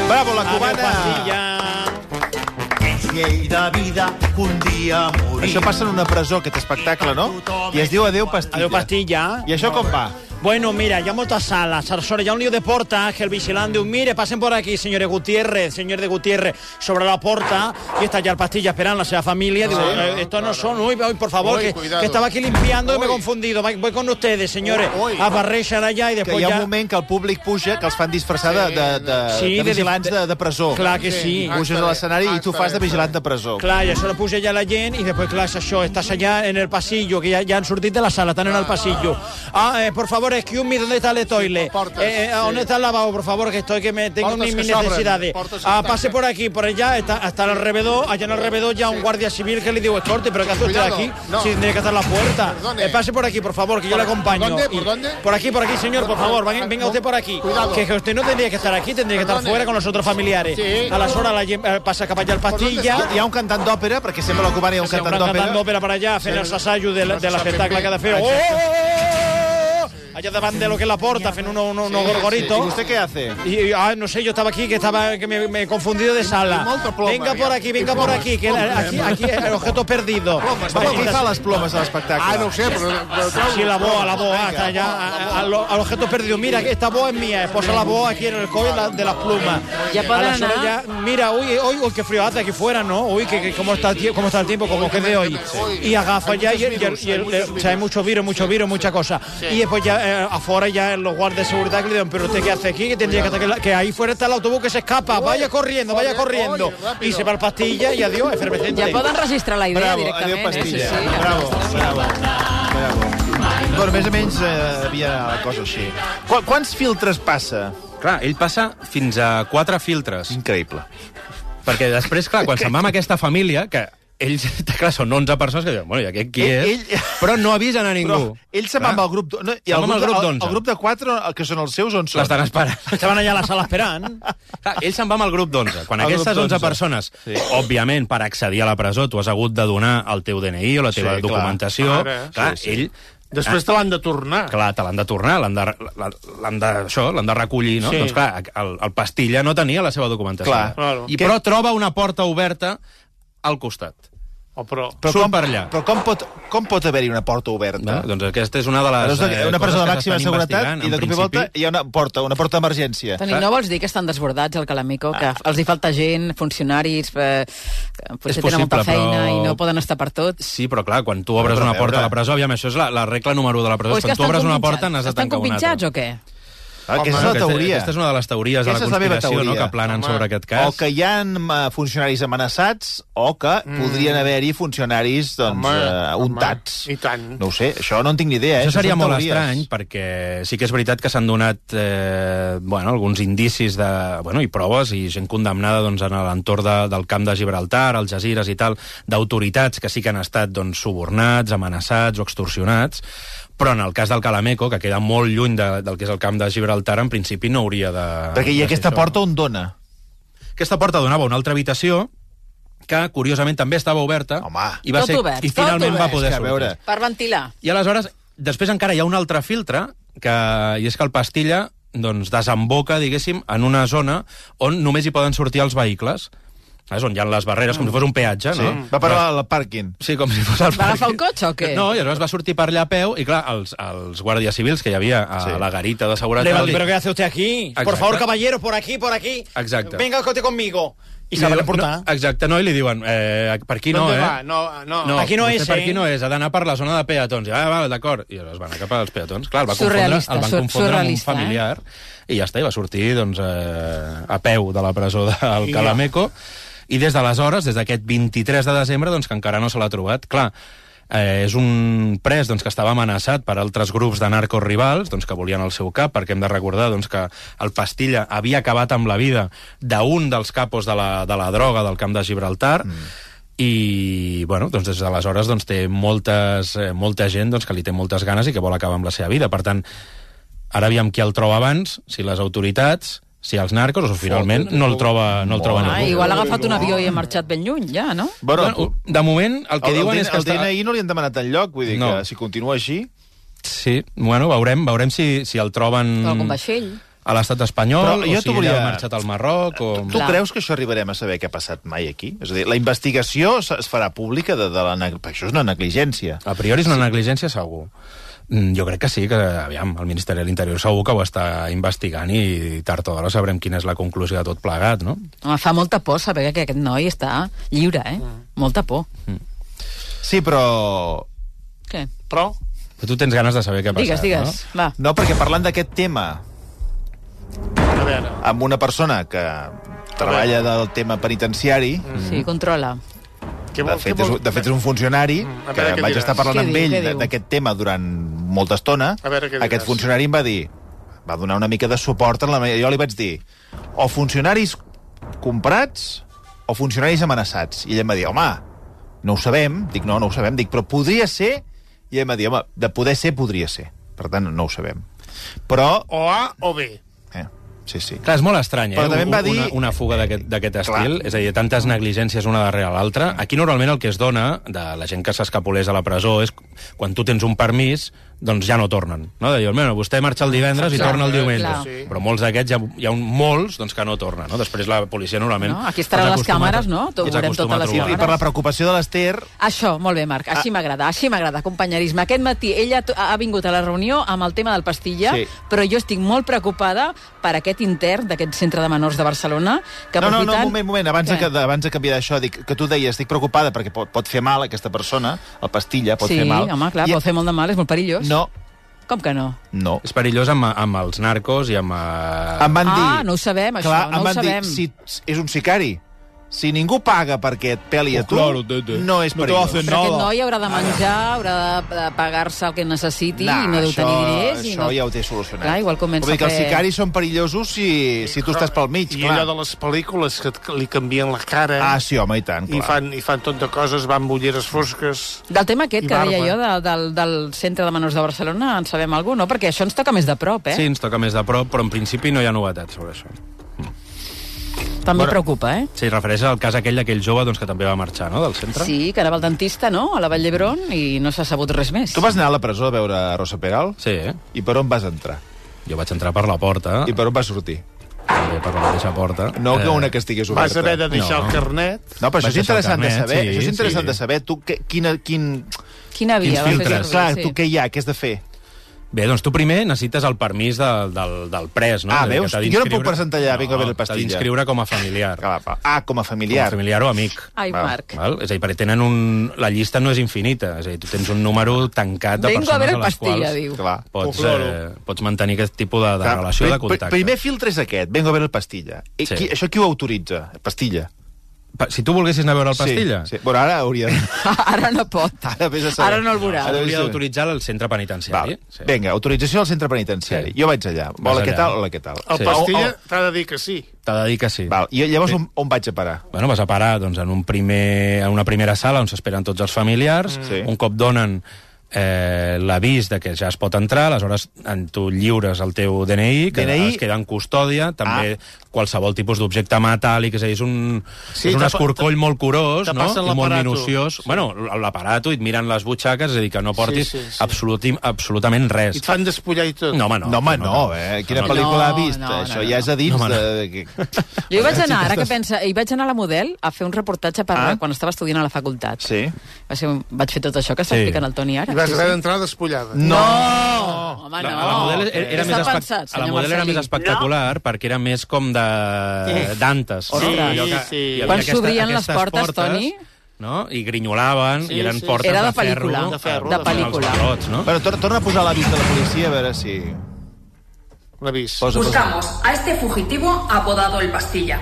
Speaker 1: Bravo, la
Speaker 5: Adeu
Speaker 1: cubana!
Speaker 5: pastilla.
Speaker 7: És llei de vida que un dia morir.
Speaker 1: Això passa en una presó, aquest espectacle, no? I es diu Adéu Pastilla.
Speaker 5: Adeu pastilla.
Speaker 1: I això com va?
Speaker 5: Bueno, mira, ya muchas salas, Sarsores, ya un lío de portas, que el vigilandium, mire, pasen por aquí, señores Gutiérrez, señor de Gutiérrez, sobre la porta, y está ya el pastilla esperando a la familia, digo, eh, estos no son, uy, uy, por favor,
Speaker 2: Uy,
Speaker 5: que,
Speaker 2: cuidado.
Speaker 5: que estaba aquí limpiando y me he
Speaker 2: Uy.
Speaker 5: confundido, Va- voy con ustedes, señores,
Speaker 2: Uy, uy.
Speaker 5: a barrechar allá y
Speaker 1: Que
Speaker 5: después
Speaker 1: hi ha un
Speaker 5: ya...
Speaker 1: moment que el públic puja, que els fan disfressar de, de, de,
Speaker 5: Sí,
Speaker 1: de
Speaker 5: de-
Speaker 1: vigilants de, de presó.
Speaker 5: Clar que sí.
Speaker 1: Puges a l'escenari i tu fas de vigilant de presó.
Speaker 5: Clar, i això ho puja ja la gent i després, clar, és això, estàs allà en el passillo, que ja, ja han sortit de la sala, estan en el passillo. Ah, eh, por favor, excuse me, ¿dónde está el toile?
Speaker 2: portes,
Speaker 5: Eh, eh, ¿Dónde
Speaker 2: sí.
Speaker 5: está el lavabo, por favor, que estoy, que me tengo
Speaker 2: Portes
Speaker 5: mis,
Speaker 2: que
Speaker 5: mis
Speaker 2: s'obren,
Speaker 5: necesidades?
Speaker 2: portes que
Speaker 5: Ah,
Speaker 2: es
Speaker 5: pase
Speaker 2: tanquen.
Speaker 5: por aquí, por allá, está, hasta el alrededor, allá en el alrededor ya un guardia civil que le digo, escorte, pero ¿qué hace usted
Speaker 2: Cuidado,
Speaker 5: aquí?
Speaker 2: no.
Speaker 5: Si tiene que estar en la puerta.
Speaker 2: Perdone.
Speaker 5: Eh, pase por aquí, por favor, que yo
Speaker 2: ¿Por-
Speaker 5: le acompaño.
Speaker 2: por dónde,
Speaker 5: Y-
Speaker 2: por dónde?
Speaker 5: Por aquí, por aquí, señor, por favor, venga venga usted por aquí.
Speaker 2: Cuidado.
Speaker 5: Que, que usted no tendría que estar aquí, tendría que estar
Speaker 2: Perdone.
Speaker 5: fuera con los otros familiares.
Speaker 2: Sí.
Speaker 5: A las horas la, gent, eh, passa cap allà al
Speaker 2: dónde
Speaker 5: pastilla,
Speaker 1: Hi ha un cantant d'òpera, perquè sempre a la cubana hi ha un
Speaker 5: Sí,
Speaker 1: cantant
Speaker 5: Hauran cantant
Speaker 1: d'òpera.
Speaker 5: d'òpera per allà, fent els assajos de, la- de l'espectacle que ha de fer. Oh,
Speaker 2: Exacte.
Speaker 5: oh, oh, oh, allà davant de lo que és la porta, fent uno, uno, uno
Speaker 2: Sí,
Speaker 1: I
Speaker 5: gorgorito.
Speaker 1: vostè què hace?
Speaker 5: Y, y, ah, no sé, yo estaba aquí, que estaba que me, me he confundido de sala.
Speaker 2: Y molta ploma,
Speaker 5: venga por aquí,
Speaker 2: y
Speaker 5: venga por
Speaker 2: plomes,
Speaker 5: aquí, que la- aquí, aquí el objeto perdido.
Speaker 1: Però qui fa les plomes a l'espectacle?
Speaker 2: Ah, no ho sé, però... però trau-
Speaker 5: Sí, la boa, la boa,
Speaker 1: Venga.
Speaker 5: hasta allá, a- a- al al objeto perdido. Mira, que esta boa es mía, posa la boa aquí en el codo la- de las plumas.
Speaker 4: Ya
Speaker 5: A
Speaker 4: podrán,
Speaker 5: las horas
Speaker 4: ¿ah?
Speaker 5: ya- Mira, uy, uy, uy, qué frío hace aquí fuera, ¿no? Uy, que, que- cómo, está, el tie- cómo está el tiempo, como que de hoy. Y agafa ya, y, el- y el- y el- o sea, hay muchos virus, muchos virus, mucha cosa. Y después ya eh, afuera ya los guardias de seguridad que le dicen, pero usted qué hace aquí, que tendría que estar, que la- que ahí fuera está el autobús que se escapa, vaya corriendo, vaya
Speaker 2: oye,
Speaker 5: corriendo.
Speaker 2: oye, rápido.
Speaker 5: Y se va al pastilla y adiós, efervescente.
Speaker 4: Ja poden registrar la idea
Speaker 1: Bravo, adéu
Speaker 4: directament, eh? Sí,
Speaker 1: pastilla.
Speaker 4: sí.
Speaker 1: Bravo, bravo. bravo. Bueno, més o menys eh, havia la cosa així. Qu quants filtres passa?
Speaker 3: Ah, Clar, ell passa fins a quatre filtres.
Speaker 1: Increïble.
Speaker 3: Perquè després, clar, quan se'n va amb aquesta família, que ells, clar, són 11 persones que diuen, bueno, i aquest qui és?
Speaker 1: Eh, Ell- ell-
Speaker 3: Però no avisen a
Speaker 1: Però
Speaker 3: ningú.
Speaker 1: ell se'n va
Speaker 3: Clar,
Speaker 1: amb el grup... d- No, i
Speaker 3: Se'n va amb el
Speaker 1: de-
Speaker 3: grup
Speaker 1: el,
Speaker 3: d'onze.
Speaker 1: grup de 4, que són els seus, on són?
Speaker 3: L'estan esperant.
Speaker 5: Estaban allá en la sala esperando.
Speaker 3: Clar, ell se'n va amb el grup d'11. Quan
Speaker 1: El grup
Speaker 3: aquestes 11
Speaker 1: d'11.
Speaker 3: persones, sí. òbviament, per accedir a la presó, tu has hagut de donar el teu DNI o la teva
Speaker 1: clar.
Speaker 3: sí, documentació, clar,
Speaker 2: Ara,
Speaker 3: clar
Speaker 2: sí,
Speaker 3: sí, sí. ell... eh,
Speaker 2: Després te l'han de tornar.
Speaker 3: Clar, te l'han de tornar, l'han de, l'han- l'han de, això, l'han de recollir, no?
Speaker 2: Sí.
Speaker 3: Sí. Doncs clar, el, el Pastilla no tenia la seva documentació.
Speaker 1: Clar.
Speaker 2: Claro.
Speaker 3: I, però troba una porta oberta al costat.
Speaker 2: Oh, però...
Speaker 1: Però
Speaker 3: Surt
Speaker 1: com,
Speaker 3: per allà.
Speaker 1: Però com pot, com pot haver-hi una porta
Speaker 3: No?
Speaker 1: oberta? No?
Speaker 3: Doncs aquesta és una de les
Speaker 1: Una,
Speaker 3: eh,
Speaker 1: una
Speaker 3: coses
Speaker 1: presó de
Speaker 3: que
Speaker 1: màxima
Speaker 3: s'estan
Speaker 1: seguretat
Speaker 3: investigant,
Speaker 1: i de
Speaker 3: en
Speaker 1: cop i volta
Speaker 3: principi.
Speaker 1: hi ha una porta, una porta d'emergència.
Speaker 4: Toni, no vols dir que estan desbordats al Calamico,
Speaker 1: Ah.
Speaker 4: que els hi falta gent, funcionaris, eh, que potser tenen molta
Speaker 3: possible,
Speaker 4: feina
Speaker 3: però-
Speaker 4: i no poden estar per tot?
Speaker 3: Sí, però clar, quan tu obres
Speaker 1: Però,
Speaker 3: una
Speaker 1: però,
Speaker 3: porta
Speaker 1: a
Speaker 3: a la
Speaker 1: veure.
Speaker 3: presó, aviam, això és la, la regla número u de la presó.
Speaker 4: O és que
Speaker 3: Quan tu
Speaker 4: estan
Speaker 3: obres una
Speaker 4: compinxats?
Speaker 3: porta, n'has de
Speaker 4: Estan
Speaker 3: tancar una altra.
Speaker 4: compinxats o què?
Speaker 1: Ah, aquesta és
Speaker 3: Home,
Speaker 1: la teoria.
Speaker 3: Aquesta és una de les teories de la
Speaker 1: Aquesta és la meva
Speaker 3: conspiració no,
Speaker 1: teoria.
Speaker 3: que planen
Speaker 2: Home.
Speaker 3: sobre aquest cas.
Speaker 1: O que hi ha eh, funcionaris amenaçats o que mm. podrien haver-hi funcionaris doncs,
Speaker 2: Home,
Speaker 1: eh,
Speaker 2: home,
Speaker 1: untats.
Speaker 2: i tant.
Speaker 1: No ho sé, això no en tinc ni idea. eh?
Speaker 3: Això seria
Speaker 1: són
Speaker 3: molt
Speaker 1: teories.
Speaker 3: estrany, perquè sí que és veritat que s'han donat eh, bueno, alguns indicis de, bueno, i proves i gent condemnada doncs, en l'entorn de, del camp de Gibraltar, al Jazires i tal, d'autoritats que sí que han estat doncs, subornats, amenaçats o extorsionats, però en el cas del Calameco, que queda molt lluny de, del que és el camp de Gibraltar, en principi Ah, no hauria de...
Speaker 1: Perquè hi
Speaker 3: de
Speaker 1: ha
Speaker 3: ser
Speaker 1: aquesta
Speaker 3: això.
Speaker 1: porta on dona.
Speaker 3: Aquesta porta donava a una altra habitació que, curiosament, també estava oberta.
Speaker 1: Home.
Speaker 3: i va
Speaker 4: Tot
Speaker 3: ser,
Speaker 4: obert,
Speaker 3: I
Speaker 4: tot
Speaker 3: finalment
Speaker 4: obert.
Speaker 3: va
Speaker 1: És
Speaker 3: poder
Speaker 1: que, a
Speaker 3: sortir.
Speaker 1: veure,
Speaker 4: Per ventilar.
Speaker 3: I aleshores, després encara hi ha un altre filtre, que, i és que el pastilla doncs, desemboca, diguéssim, en una zona on només hi poden sortir els vehicles. És on hi ha les barreres, com si fos un peatge,
Speaker 1: Sí.
Speaker 3: no?
Speaker 1: Va parar al pàrquing.
Speaker 3: Sí, com si fos el
Speaker 4: Va agafar
Speaker 3: pàrquing.
Speaker 4: un cotxe o què?
Speaker 3: No, i aleshores va sortir per allà a peu, i clar, els, els guàrdies civils que hi havia a
Speaker 1: Sí.
Speaker 3: sí. la garita de
Speaker 5: Le
Speaker 3: seguretat...
Speaker 5: digo,
Speaker 3: li-
Speaker 5: ¿Pero qué hace usted aquí? Por
Speaker 3: Exacte.
Speaker 5: favor, caballero, por aquí, por aquí.
Speaker 3: Exacte.
Speaker 5: Venga, cote conmigo. I
Speaker 3: li
Speaker 5: se va
Speaker 3: diuen-
Speaker 5: reportar.
Speaker 3: No, exacte, no, i li diuen, eh, per aquí no,
Speaker 2: ¿Dónde
Speaker 3: eh?
Speaker 2: va? No, no.
Speaker 3: No,
Speaker 5: Aquí no
Speaker 3: vostè
Speaker 5: és,
Speaker 3: per
Speaker 5: eh?
Speaker 3: aquí no és, ha d'anar per la zona de peatons. I, ah, val, d'acord. I llavors va anar cap als peatons. Clar, el va confondre,
Speaker 4: Surrealista,
Speaker 3: el van
Speaker 4: sur-
Speaker 3: confondre amb un
Speaker 4: surrealista, eh?
Speaker 3: familiar. I ja està, i va sortir doncs, eh, a peu de la presó del
Speaker 2: I ja.
Speaker 3: Calameco. I des d'aleshores, des d'aquest 23 de desembre, doncs, que encara no se l'ha trobat. Clar, Eh, és un pres doncs, que estava amenaçat per altres grups de narcos rivals doncs, que volien el seu cap, perquè hem de recordar doncs, que el Pastilla havia acabat amb la vida d'un dels capos de la, de la droga del camp de Gibraltar, mm i bueno, doncs des d'aleshores doncs, té moltes, eh, molta gent doncs, que li té moltes ganes i que vol acabar amb la seva vida. Per tant, ara aviam qui el troba abans, si les autoritats, si els narcos, o finalment no el troba, no el troba
Speaker 4: Ah,
Speaker 3: ningú.
Speaker 4: igual ha agafat un avió i ha marxat ben lluny, ja, no?
Speaker 1: Bueno,
Speaker 3: Bueno, de moment, el que
Speaker 1: el,
Speaker 3: diuen
Speaker 1: el,
Speaker 3: és que...
Speaker 1: el DNI no li han demanat enlloc, vull dir
Speaker 3: No.
Speaker 1: que si continua així...
Speaker 3: Sí, bueno, veurem, veurem si, si el troben...
Speaker 4: Mm. Algun vaixell.
Speaker 3: A l'estat espanyol,
Speaker 1: Però
Speaker 3: o
Speaker 1: jo
Speaker 3: si
Speaker 1: t'ho
Speaker 3: volia...
Speaker 1: volia-
Speaker 3: ha marxat al Marroc, o...
Speaker 1: Tu
Speaker 4: Clar.
Speaker 1: creus que això arribarem a saber què ha passat mai aquí? És a dir, la investigació se- es farà pública de, de la... neg- perquè Això és una negligència.
Speaker 3: A priori és una negligència, segur. Mm, Jo crec que sí, que aviam, el Ministeri de l'Interior segur que ho està investigant i tard o d'hora sabrem quina és la conclusió de tot plegat, no?
Speaker 4: Home, fa molta por saber que aquest noi està lliure, eh? Molta por.
Speaker 1: Sí, però...
Speaker 4: Què?
Speaker 2: Però...
Speaker 3: Però tu tens ganes de saber què ha
Speaker 4: Digues,
Speaker 3: passat,
Speaker 4: digues.
Speaker 3: no?
Speaker 4: Va.
Speaker 1: No, perquè parlant d'aquest tema
Speaker 2: A veure...
Speaker 1: amb una persona que treballa del tema penitenciari,
Speaker 2: Mm.
Speaker 4: Sí, controla.
Speaker 2: Què
Speaker 1: de
Speaker 2: vol,
Speaker 1: fet,
Speaker 2: què
Speaker 1: és,
Speaker 2: vol...
Speaker 1: de fet és un funcionari
Speaker 2: Mm, a
Speaker 1: que
Speaker 2: veure què
Speaker 1: vaig
Speaker 2: diràs.
Speaker 1: estar parlant
Speaker 4: Què
Speaker 1: amb
Speaker 4: diu,
Speaker 1: ell
Speaker 4: què
Speaker 1: de-
Speaker 4: diu?
Speaker 1: d'aquest tema durant molta estona.
Speaker 2: A veure què
Speaker 1: Aquest
Speaker 2: diràs.
Speaker 1: funcionari em va dir... Va donar una mica de suport. En la... me- Jo li vaig dir o funcionaris comprats o funcionaris amenaçats. I ell em va dir, home, no ho sabem. Dic, no, no ho sabem. Dic, però podria ser... I ell em va dir, home, de poder ser, podria ser. Per tant, no ho sabem. Però...
Speaker 2: O A o B.
Speaker 1: Eh, sí, sí.
Speaker 3: Clar, és molt estrany, eh?
Speaker 1: Però també em va
Speaker 3: Un- una,
Speaker 1: dir-
Speaker 3: una fuga d'aquest d'aquest estil, és a dir, tantes negligències una darrere l'altra. Aquí normalment el que es dona de la gent que s'escapolés a la presó és quan tu tens un permís, doncs ja no tornen. No? De dir, bueno, vostè marxa el divendres i
Speaker 4: Clar,
Speaker 3: torna el diumenge.
Speaker 4: clar.
Speaker 3: Sí. Però molts d'aquests, hi ha, hi ha un, molts doncs, que no tornen. No? Després la policia normalment...
Speaker 4: No, aquí estaran
Speaker 3: els
Speaker 4: les
Speaker 3: acostuma a-
Speaker 4: càmeres, no? Ho
Speaker 3: els
Speaker 4: veurem
Speaker 3: acostuma
Speaker 4: totes
Speaker 3: a
Speaker 4: les
Speaker 3: trobar.
Speaker 1: I, I per la preocupació de l'Ester,
Speaker 4: Això, molt bé, Marc.
Speaker 1: Ah.
Speaker 4: Així m'agrada, així m'agrada, companyerisme. Aquest matí ella t- ha vingut a la reunió amb el tema del pastilla,
Speaker 1: Sí.
Speaker 4: però jo estic molt preocupada per aquest intern d'aquest centre de menors de Barcelona, que
Speaker 1: No, no, no,
Speaker 4: aprofitant...
Speaker 1: un moment, un moment. Abans, de,
Speaker 4: Què?
Speaker 1: que- de- abans de canviar d'això, dic que tu deies, estic preocupada perquè pot, pot fer mal aquesta persona, el pastilla pot
Speaker 4: sí,
Speaker 1: fer mal.
Speaker 4: home, clar,
Speaker 1: I-
Speaker 4: pot fer molt de mal, és molt perillós.
Speaker 1: No,
Speaker 4: Com que no?
Speaker 1: no.
Speaker 3: És perillós amb, amb els narcos i amb... eh,
Speaker 1: Em van
Speaker 4: Ah,
Speaker 1: dir...
Speaker 4: no ho sabem, això,
Speaker 1: clar,
Speaker 4: no
Speaker 1: em
Speaker 4: ho
Speaker 1: van
Speaker 4: sabem.
Speaker 1: Dir, si, és un sicari. Si ningú paga perquè et peli a tu,
Speaker 3: claro, te- te.
Speaker 1: no és
Speaker 3: No te
Speaker 1: perillós.
Speaker 3: hacen
Speaker 4: Però aquest
Speaker 3: Nada.
Speaker 4: noi haurà de menjar, haurà de- de pagar-se el que necessiti
Speaker 1: Nah,
Speaker 4: i no deu
Speaker 1: això,
Speaker 4: tenir diners. i
Speaker 1: això
Speaker 4: no...
Speaker 1: ja ho té solucionat.
Speaker 4: Clar, igual comença
Speaker 1: Vull dir que
Speaker 4: a
Speaker 1: els
Speaker 4: fer-
Speaker 1: sicaris són perillosos si, si tu estàs pel mig,
Speaker 2: I
Speaker 1: clar.
Speaker 2: allò de les pel·lícules que et- li canvien la cara...
Speaker 1: Ah, sí, home, i tant,
Speaker 2: I
Speaker 1: clar.
Speaker 2: fan, I fan tot de coses, van amb ulleres fosques...
Speaker 4: Del tema aquest
Speaker 2: I
Speaker 4: que deia
Speaker 2: barba.
Speaker 4: jo de, del, del Centre de Menors de Barcelona, en sabem alguna no? Perquè això ens toca més de prop, eh?
Speaker 3: Sí, ens toca més de prop, però en principi no hi ha novetats sobre això.
Speaker 4: També
Speaker 1: Bueno.
Speaker 4: preocupa, eh?
Speaker 3: Sí, refereix al cas aquell d'aquell jove doncs, que també va marxar no? del centre.
Speaker 4: Sí, que anava al dentista, no?, a la Vall d'Hebron, i no s'ha sabut res més.
Speaker 1: Tu vas anar a la presó a veure Rosa Peral?
Speaker 3: sí eh?
Speaker 1: I per on vas entrar?
Speaker 3: jo vaig entrar per la porta,
Speaker 1: I per on vas sortir?
Speaker 3: també per la mateixa porta.
Speaker 1: No que una que estigués oberta.
Speaker 2: Vas haver de deixar
Speaker 3: Eh, No.
Speaker 2: el carnet...
Speaker 1: No, però això és
Speaker 3: Vaig deixar el
Speaker 1: interessant de
Speaker 3: carnet,
Speaker 1: saber.
Speaker 3: sí,
Speaker 1: això és interessant
Speaker 3: sí.
Speaker 1: de saber. Tu, que, quina, quin...
Speaker 4: Quina via?
Speaker 3: Quins
Speaker 4: va fer
Speaker 3: filtres?
Speaker 4: servir?
Speaker 1: Clar,
Speaker 4: Sí.
Speaker 1: tu què hi ha? Què has de fer?
Speaker 3: Bé, doncs tu primer necessites el permís de, del, del pres, no?
Speaker 1: Ah,
Speaker 3: És a dir,
Speaker 1: veus?
Speaker 3: que
Speaker 1: Jo
Speaker 3: t'ha
Speaker 1: no em puc
Speaker 3: d'inscriure-
Speaker 1: presentar allà, vinc a veure el
Speaker 3: T'ha
Speaker 1: pastilla.
Speaker 3: d'inscriure com a familiar.
Speaker 1: Ah, va. Ah, com a
Speaker 3: Com a
Speaker 1: familiar.
Speaker 3: familiar o amic.
Speaker 4: Ai,
Speaker 1: Va.
Speaker 4: Marc.
Speaker 3: Val? És a dir, perquè tenen un... La llista no és infinita. És a dir, tu tens un número tancat de
Speaker 4: Vengo a
Speaker 3: persones
Speaker 4: veure
Speaker 3: a les
Speaker 4: pastilla,
Speaker 3: quals
Speaker 4: diu.
Speaker 1: Clar.
Speaker 3: pots,
Speaker 2: Folklore.
Speaker 3: eh, pots mantenir aquest tipus de, de
Speaker 1: Clar,
Speaker 3: relació,
Speaker 1: pri-
Speaker 3: de contacte.
Speaker 1: pri- Primer filtre és aquest, vengo a veure el pastilla. I
Speaker 3: Sí.
Speaker 1: qui, això qui ho autoritza? Pastilla.
Speaker 3: Pa- Si tu volguessis anar a veure el pastilla,
Speaker 1: Sí, sí. Bueno, ara hauria...
Speaker 4: Ara no pot.
Speaker 1: Ara vés a saber.
Speaker 4: Ara no el veurà.
Speaker 1: Ara-
Speaker 3: hauria d'autoritzar el centre penitenciari.
Speaker 1: Val. Vinga, autorització al centre penitenciari.
Speaker 3: Sí.
Speaker 1: Jo vaig allà.
Speaker 3: Vas
Speaker 1: Hola, què
Speaker 3: allà.
Speaker 1: tal? Hola, què tal?
Speaker 2: El
Speaker 3: Sí.
Speaker 2: pastilla
Speaker 1: Oh,
Speaker 2: t'ha de dir que sí.
Speaker 3: T'ha de dir que sí.
Speaker 1: Val. I llavors on, on vaig a parar?
Speaker 3: Bueno, vas a parar doncs, en, un primer, en una primera sala on s'esperen tots els familiars,
Speaker 1: Sí.
Speaker 3: mm. un cop donen eh, l'avís de que ja es pot entrar, aleshores en tu lliures el teu DNI, que
Speaker 1: DNI?
Speaker 3: es queda en custòdia, també qualsevol tipus d'objecte metàl·lic, és a dir, és un,
Speaker 2: Ah. Sí,
Speaker 3: sí, és un
Speaker 2: te pa-
Speaker 3: escorcoll molt curós
Speaker 2: te
Speaker 3: no?
Speaker 2: passen
Speaker 3: i molt
Speaker 2: l'aparato.
Speaker 3: minuciós.
Speaker 2: Sí.
Speaker 3: Bueno, l'aparato, i et miren les butxaques, és a dir, que no portis
Speaker 2: sí, sí.
Speaker 3: absoluti- absolutament
Speaker 2: I
Speaker 3: res.
Speaker 2: et fan despullar i tot.
Speaker 3: No, home, no.
Speaker 1: No, home, no, eh? Quina
Speaker 3: No, no.
Speaker 1: pel·lícula ha
Speaker 4: No,
Speaker 1: vist?
Speaker 4: no, no,
Speaker 1: Això
Speaker 4: no.
Speaker 1: ja és a dins
Speaker 3: No, home, no.
Speaker 1: de...
Speaker 4: Jo hi vaig anar, ara que pensa, hi vaig anar a la Model a fer un reportatge per
Speaker 1: Ah.
Speaker 4: ah? quan estava estudiant a la facultat.
Speaker 1: Sí.
Speaker 4: Va ser un... Vaig fer tot això que està
Speaker 3: Sí.
Speaker 4: explicant el Toni ara.
Speaker 2: I vas
Speaker 4: Sí,
Speaker 2: haver
Speaker 4: sí.
Speaker 2: d'entrar despullada.
Speaker 1: No!
Speaker 4: Home,
Speaker 3: La,
Speaker 4: no.
Speaker 3: a la model era, era,
Speaker 4: Està
Speaker 3: més, espec-
Speaker 4: pensat,
Speaker 3: a la
Speaker 4: senyor
Speaker 3: model era
Speaker 4: Marcelí.
Speaker 3: més espectacular no? perquè era més com de d'antes.
Speaker 4: Sí,
Speaker 3: Allò que-
Speaker 2: sí.
Speaker 3: hi havia
Speaker 4: Quan
Speaker 3: aquesta-
Speaker 4: s'obrien les
Speaker 3: aquestes
Speaker 4: portes, Toni?
Speaker 3: No? I grinyolaven,
Speaker 2: Sí,
Speaker 3: i eren
Speaker 2: sí.
Speaker 3: portes
Speaker 4: Era de
Speaker 3: ferro.
Speaker 4: pel·lícula,
Speaker 2: de ferro,
Speaker 3: amb
Speaker 2: de
Speaker 3: els
Speaker 4: pel·lícula.
Speaker 3: barrots, no?
Speaker 1: Bueno, tor- torna a posar l'avís de la policia a veure si...
Speaker 2: L'avís.
Speaker 1: Posa, posa.
Speaker 6: Buscamos a este fugitivo apodado el Pastilla.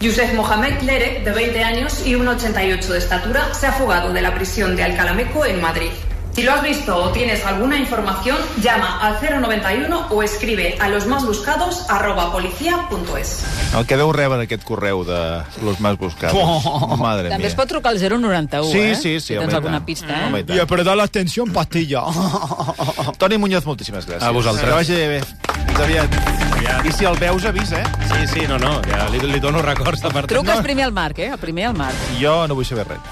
Speaker 6: Yusef Mohamed Lerek, de 20 años y 1,88 de estatura, se ha fugado de la prisión de Alcalameco en Madrid. Si lo has visto o tienes alguna información, llama al 091 o escribe a los más buscados arroba policía.es.
Speaker 1: El que deu rebre aquest correu de los más buscados. Oh. Madre
Speaker 4: També
Speaker 1: mía.
Speaker 4: es pot trucar al 091,
Speaker 1: Sí,
Speaker 4: eh?
Speaker 1: sí, sí,
Speaker 4: Si
Speaker 1: home,
Speaker 4: tens
Speaker 1: i
Speaker 4: alguna
Speaker 1: tant.
Speaker 4: pista,
Speaker 1: Home,
Speaker 4: eh?
Speaker 1: i tant.
Speaker 5: apretar l'extensió en pastilla.
Speaker 1: Toni Muñoz, moltíssimes gràcies.
Speaker 3: A vosaltres.
Speaker 1: Que vagi bé. Fins aviat. I si el veus, avisa, eh?
Speaker 3: Sí, sí, no, no, ja li, li dono records de part
Speaker 4: Truques primer al Marc, eh? El primer al Marc.
Speaker 1: Jo no vull saber res.